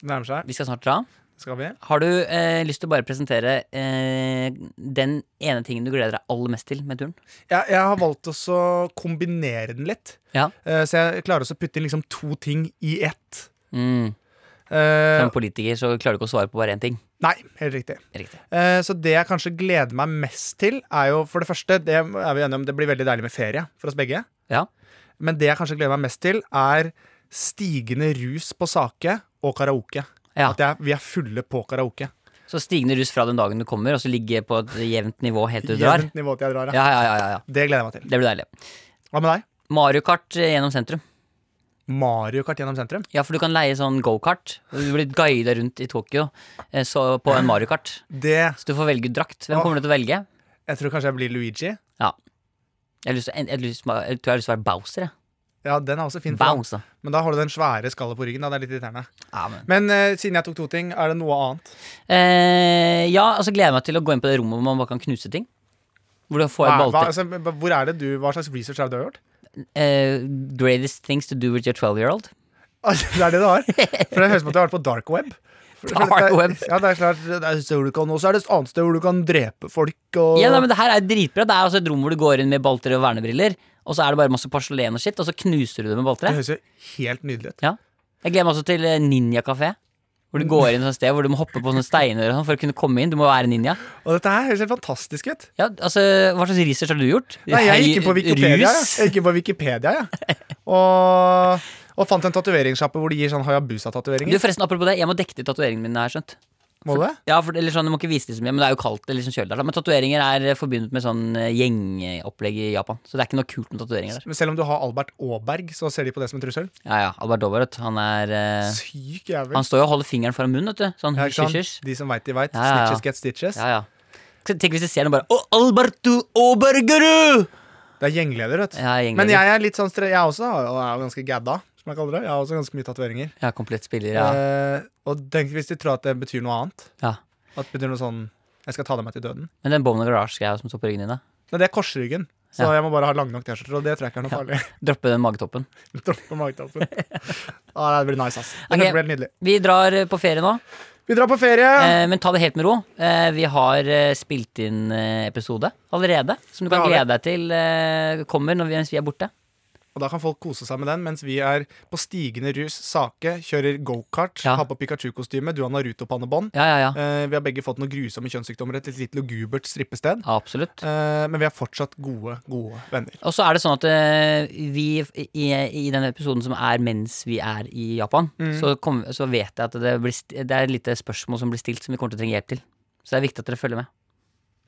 Speaker 3: Nærmer seg.
Speaker 2: Vi skal snart dra.
Speaker 3: Skal vi?
Speaker 2: Har du eh, lyst til å bare presentere eh, den ene tingen du gleder deg aller mest til med turen?
Speaker 3: Jeg, jeg har valgt også å kombinere den litt.
Speaker 2: Ja.
Speaker 3: Eh, Så jeg klarer også å putte inn liksom to ting i ett.
Speaker 2: Mm.
Speaker 3: Eh,
Speaker 2: Som politiker så klarer du ikke å svare på bare én ting.
Speaker 3: Nei, helt riktig.
Speaker 2: Riktig.
Speaker 3: Eh, Så det jeg kanskje gleder meg mest til, er jo for det første Det er vi enige om, det blir veldig deilig med ferie for oss begge.
Speaker 2: Ja.
Speaker 3: Men det jeg kanskje gleder meg mest til, er stigende rus på sake og karaoke.
Speaker 2: Ja.
Speaker 3: At jeg, vi er fulle på karaoke.
Speaker 2: Så stigende russ fra den dagen du kommer, og så ligge på et jevnt nivå helt til du drar.
Speaker 3: Jevnt nivå til jeg drar, ja.
Speaker 2: Ja, ja, ja, ja, ja.
Speaker 3: Det gleder jeg meg til.
Speaker 2: Det blir deilig.
Speaker 3: Hva med deg?
Speaker 2: Mario Kart eh, gjennom sentrum.
Speaker 3: Mario Kart gjennom sentrum?
Speaker 2: Ja, for du kan leie sånn gokart. Du blir guida rundt i Tokyo eh, så på en Mario Kart.
Speaker 3: Det
Speaker 2: Så du får velge ut drakt. Hvem kommer du til å velge?
Speaker 3: Jeg tror kanskje jeg blir Luigi.
Speaker 2: Jeg, har lyst, til- jeg, har lyst, til- jeg tror jeg har lyst til å være Bowser. Jeg.
Speaker 3: Ja, den er også fin. for deg.
Speaker 2: Bowser.
Speaker 3: Men da har du den svære skallet på ryggen. Da. Det er litt irriterende.
Speaker 2: Ja, men.
Speaker 3: Men eh, siden jeg tok to ting, er det noe annet?
Speaker 2: Eh, ja, altså gleder jeg meg til å gå inn på det rommet hvor man bare kan knuse ting. Hvor du får
Speaker 3: Hva,
Speaker 2: et
Speaker 3: hva,
Speaker 2: balltre.
Speaker 3: altså, hvor er det du, hva slags research er det du har gjort?
Speaker 2: Eh, greatest things to do with your 12 year old.
Speaker 3: Altså, det er det du har. For det høres ut som at du har vært på dark web. For- for
Speaker 2: Dark
Speaker 3: dette-
Speaker 2: web.
Speaker 3: Ja, det er klart. Det er et sted hvor du kan, og så er det et annet sted hvor du kan drepe folk. Og,
Speaker 2: Ja, nei, men Det her er dritbra. Det er altså et rom hvor du går inn med balltre og vernebriller, og så er det bare masse porselen og shit, og så knuser du det med
Speaker 3: det
Speaker 2: balltre.
Speaker 3: høres jo helt nydelig ut.
Speaker 2: Jeg gleder meg også til eh, ninjakafé. Hvor du går inn et sånt sted hvor du må hoppe på sånne steiner og sånn for å kunne komme inn. Du må være ninja.
Speaker 3: Og dette her høres helt fantastisk ut.
Speaker 2: Ja, altså, Hva slags research har du gjort?
Speaker 3: Nei, jeg gikk inn på
Speaker 2: Høy-
Speaker 3: Wikipedia, jeg.
Speaker 2: Rus?
Speaker 3: jeg. Gikk inn på Wikipedia, jeg. Og, og fant en tatoveringssjappe hvor de gir sånn
Speaker 2: Du,
Speaker 3: Hayabusa-tatoveringer.
Speaker 2: forresten, apropos det, jeg må dekke til tatoveringene mine, har jeg skjønt.
Speaker 3: Må du det?
Speaker 2: Ja, for, eller sånn, jeg må ikke vise det så mye, men det er jo kaldt, det er liksom kjølig der. da. Men tatoveringer er eh, forbundet med sånn eh, gjengopplegg i Japan, så det er ikke noe kult med tatoveringer der.
Speaker 3: Men selv om du har Albert Aaberg, så ser de på det som en trussel.
Speaker 2: Ja, ja, Albert Doverot, han er eh,
Speaker 3: Syk jævel.
Speaker 2: Han står jo og holder fingeren foran munnen, vet du. Sånn
Speaker 3: Ja,
Speaker 2: hysj,
Speaker 3: ikke sant?
Speaker 2: hysj, hysj.
Speaker 3: De som veit, de veit.
Speaker 2: Ja, ja, ja.
Speaker 3: Snitches get stitches.
Speaker 2: Ja, ja. Så Tenk hvis de ser noe bare Å, Alberto Aabergerud!
Speaker 3: Det er gjengleder, vet du.
Speaker 2: Ja, gjengleder.
Speaker 3: Men jeg er litt sånn stre jeg også har- og er jo ganske gadda, som jeg kaller det. Jeg har også ganske mye tatoveringer.
Speaker 2: Ja, komplett spiller, ja.
Speaker 3: Eh, og tenk hvis de tror at det betyr noe annet.
Speaker 2: Ja.
Speaker 3: At det betyr noe sånn Jeg skal ta deg med til døden.
Speaker 2: Men den Bowman Garage-greia som står på ryggen din, da?
Speaker 3: Nei, det er korsryggen, så
Speaker 2: Ja.
Speaker 3: jeg må bare ha lang nok T-skjorter, og det tror jeg ikke er noe farlig.
Speaker 2: Droppe den magetoppen.
Speaker 3: Droppe magetoppen. ah, det blir nice, ass.
Speaker 2: Ok.
Speaker 3: Det kommer til å bli helt nydelig.
Speaker 2: Vi drar eh, på ferie nå,
Speaker 3: Vi drar på ferie!
Speaker 2: eh, men ta det helt med ro. Eh, Vi har eh, spilt inn eh, episode allerede, som du
Speaker 3: Det
Speaker 2: kan
Speaker 3: har vi.
Speaker 2: glede deg til eh, kommer når vi, mens vi er borte.
Speaker 3: Og da kan folk kose seg med den mens vi er på stigende rus, sake, kjører gokart,
Speaker 2: Ja.
Speaker 3: har på Pikachu-kostyme, du har Naruto-pannebånd.
Speaker 2: Ja, ja, ja.
Speaker 3: Eh, vi har begge fått noen grusomme kjønnssykdommer, et litt lugubert strippested.
Speaker 2: Absolutt.
Speaker 3: Eh, men vi er fortsatt gode, gode venner.
Speaker 2: Og så er det sånn at eh, vi i, i den episoden som er mens vi er i Japan,
Speaker 3: Mm.
Speaker 2: så, kom, så vet jeg at det, blir, st- det er et lite spørsmål som blir stilt som vi kommer til å trenge hjelp til. Så det er viktig at dere følger med.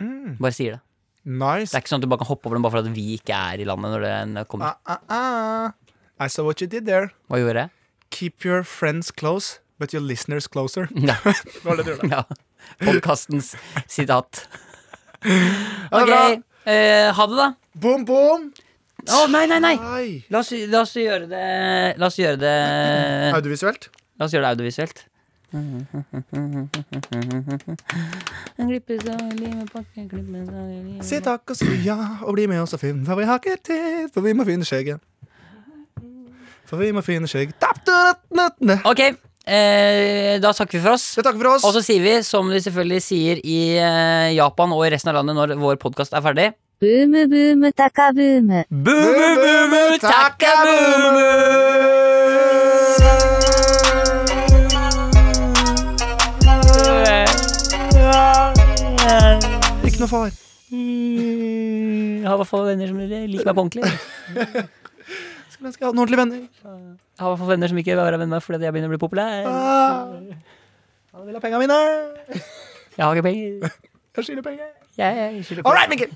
Speaker 3: Mm.
Speaker 2: Bare sier det.
Speaker 3: Nice.
Speaker 2: Det er ikke sånn at du bare kan hoppe over dem bare for at vi ikke er i landet når den kommer.
Speaker 3: Ah, ah, ah. I saw what you did there.
Speaker 2: Hva gjorde jeg?
Speaker 3: Keep your friends close, but your listeners closer.
Speaker 2: Ja.
Speaker 3: Det var det du gjorde.
Speaker 2: ja. Podkastens sitat.
Speaker 3: Ja, det er
Speaker 2: Ok,
Speaker 3: bra.
Speaker 2: eh, ha det, da.
Speaker 3: Boom, boom!
Speaker 2: Å, nei, nei, nei!
Speaker 3: Hei.
Speaker 2: La oss, la oss gjøre det La oss gjøre det
Speaker 3: Audiovisuelt.
Speaker 2: La oss gjøre det audiovisuelt. En glippe seg i livet, pakke, glippe seg i livet.
Speaker 3: Si takk og si ja, og bli med oss og finn, for vi har ikke tid, for vi må finne skjegget. For vi må finne skjegg Da
Speaker 2: Ok, eh, da takker vi for oss.
Speaker 3: takker vi for oss.
Speaker 2: Og så sier vi, som de selvfølgelig sier i eh, Japan og i resten av landet når vår podkast er ferdig
Speaker 4: Boom, boom, takka boom.
Speaker 2: Bumu, bumu, takka, bumu!
Speaker 3: Ikke noe far.
Speaker 2: Jeg har i hvert fall venner som liker meg på ordentlig. Jeg
Speaker 3: Skulle ønske jeg hadde noen ordentlige venner.
Speaker 2: har i hvert fall venner som ikke vil være venn med meg fordi jeg begynner å bli populær.
Speaker 3: Ah, han vil ha penga mine.
Speaker 2: Jeg har ikke penger.
Speaker 3: Jeg skylder penger.
Speaker 2: Jeg skylder
Speaker 3: All right, Mikkel.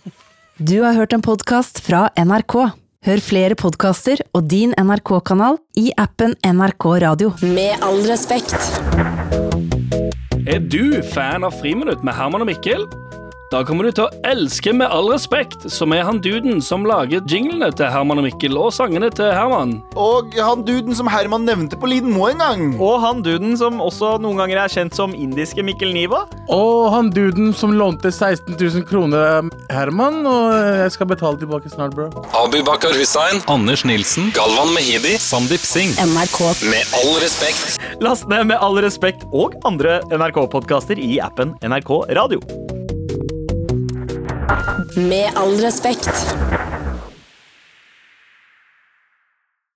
Speaker 1: Du har hørt en podkast fra NRK. Hør flere podkaster og din NRK-kanal i appen NRK Radio.
Speaker 8: Med all respekt.
Speaker 9: Er du fan av Friminutt med Herman og Mikkel? Da kommer du til å elske Med all respekt, som er han duden som lager jinglene til Herman og Mikkel og sangene til Herman.
Speaker 10: Og han duden som Herman nevnte på Lidenmo en gang.
Speaker 11: Og han duden som også noen ganger er kjent som indiske Mikkel Niva.
Speaker 12: Og han duden som lånte 16 000 kroner av Herman, og jeg skal betale tilbake snart, bro.
Speaker 10: Abu Bakar Hussein, Anders Nilsen, Galvan Mehidi, Sandeep Singh.
Speaker 8: NRK.
Speaker 10: Med all respekt.
Speaker 11: Last ned med all respekt og andre NRK-podkaster i appen NRK Radio.
Speaker 8: Med all respekt.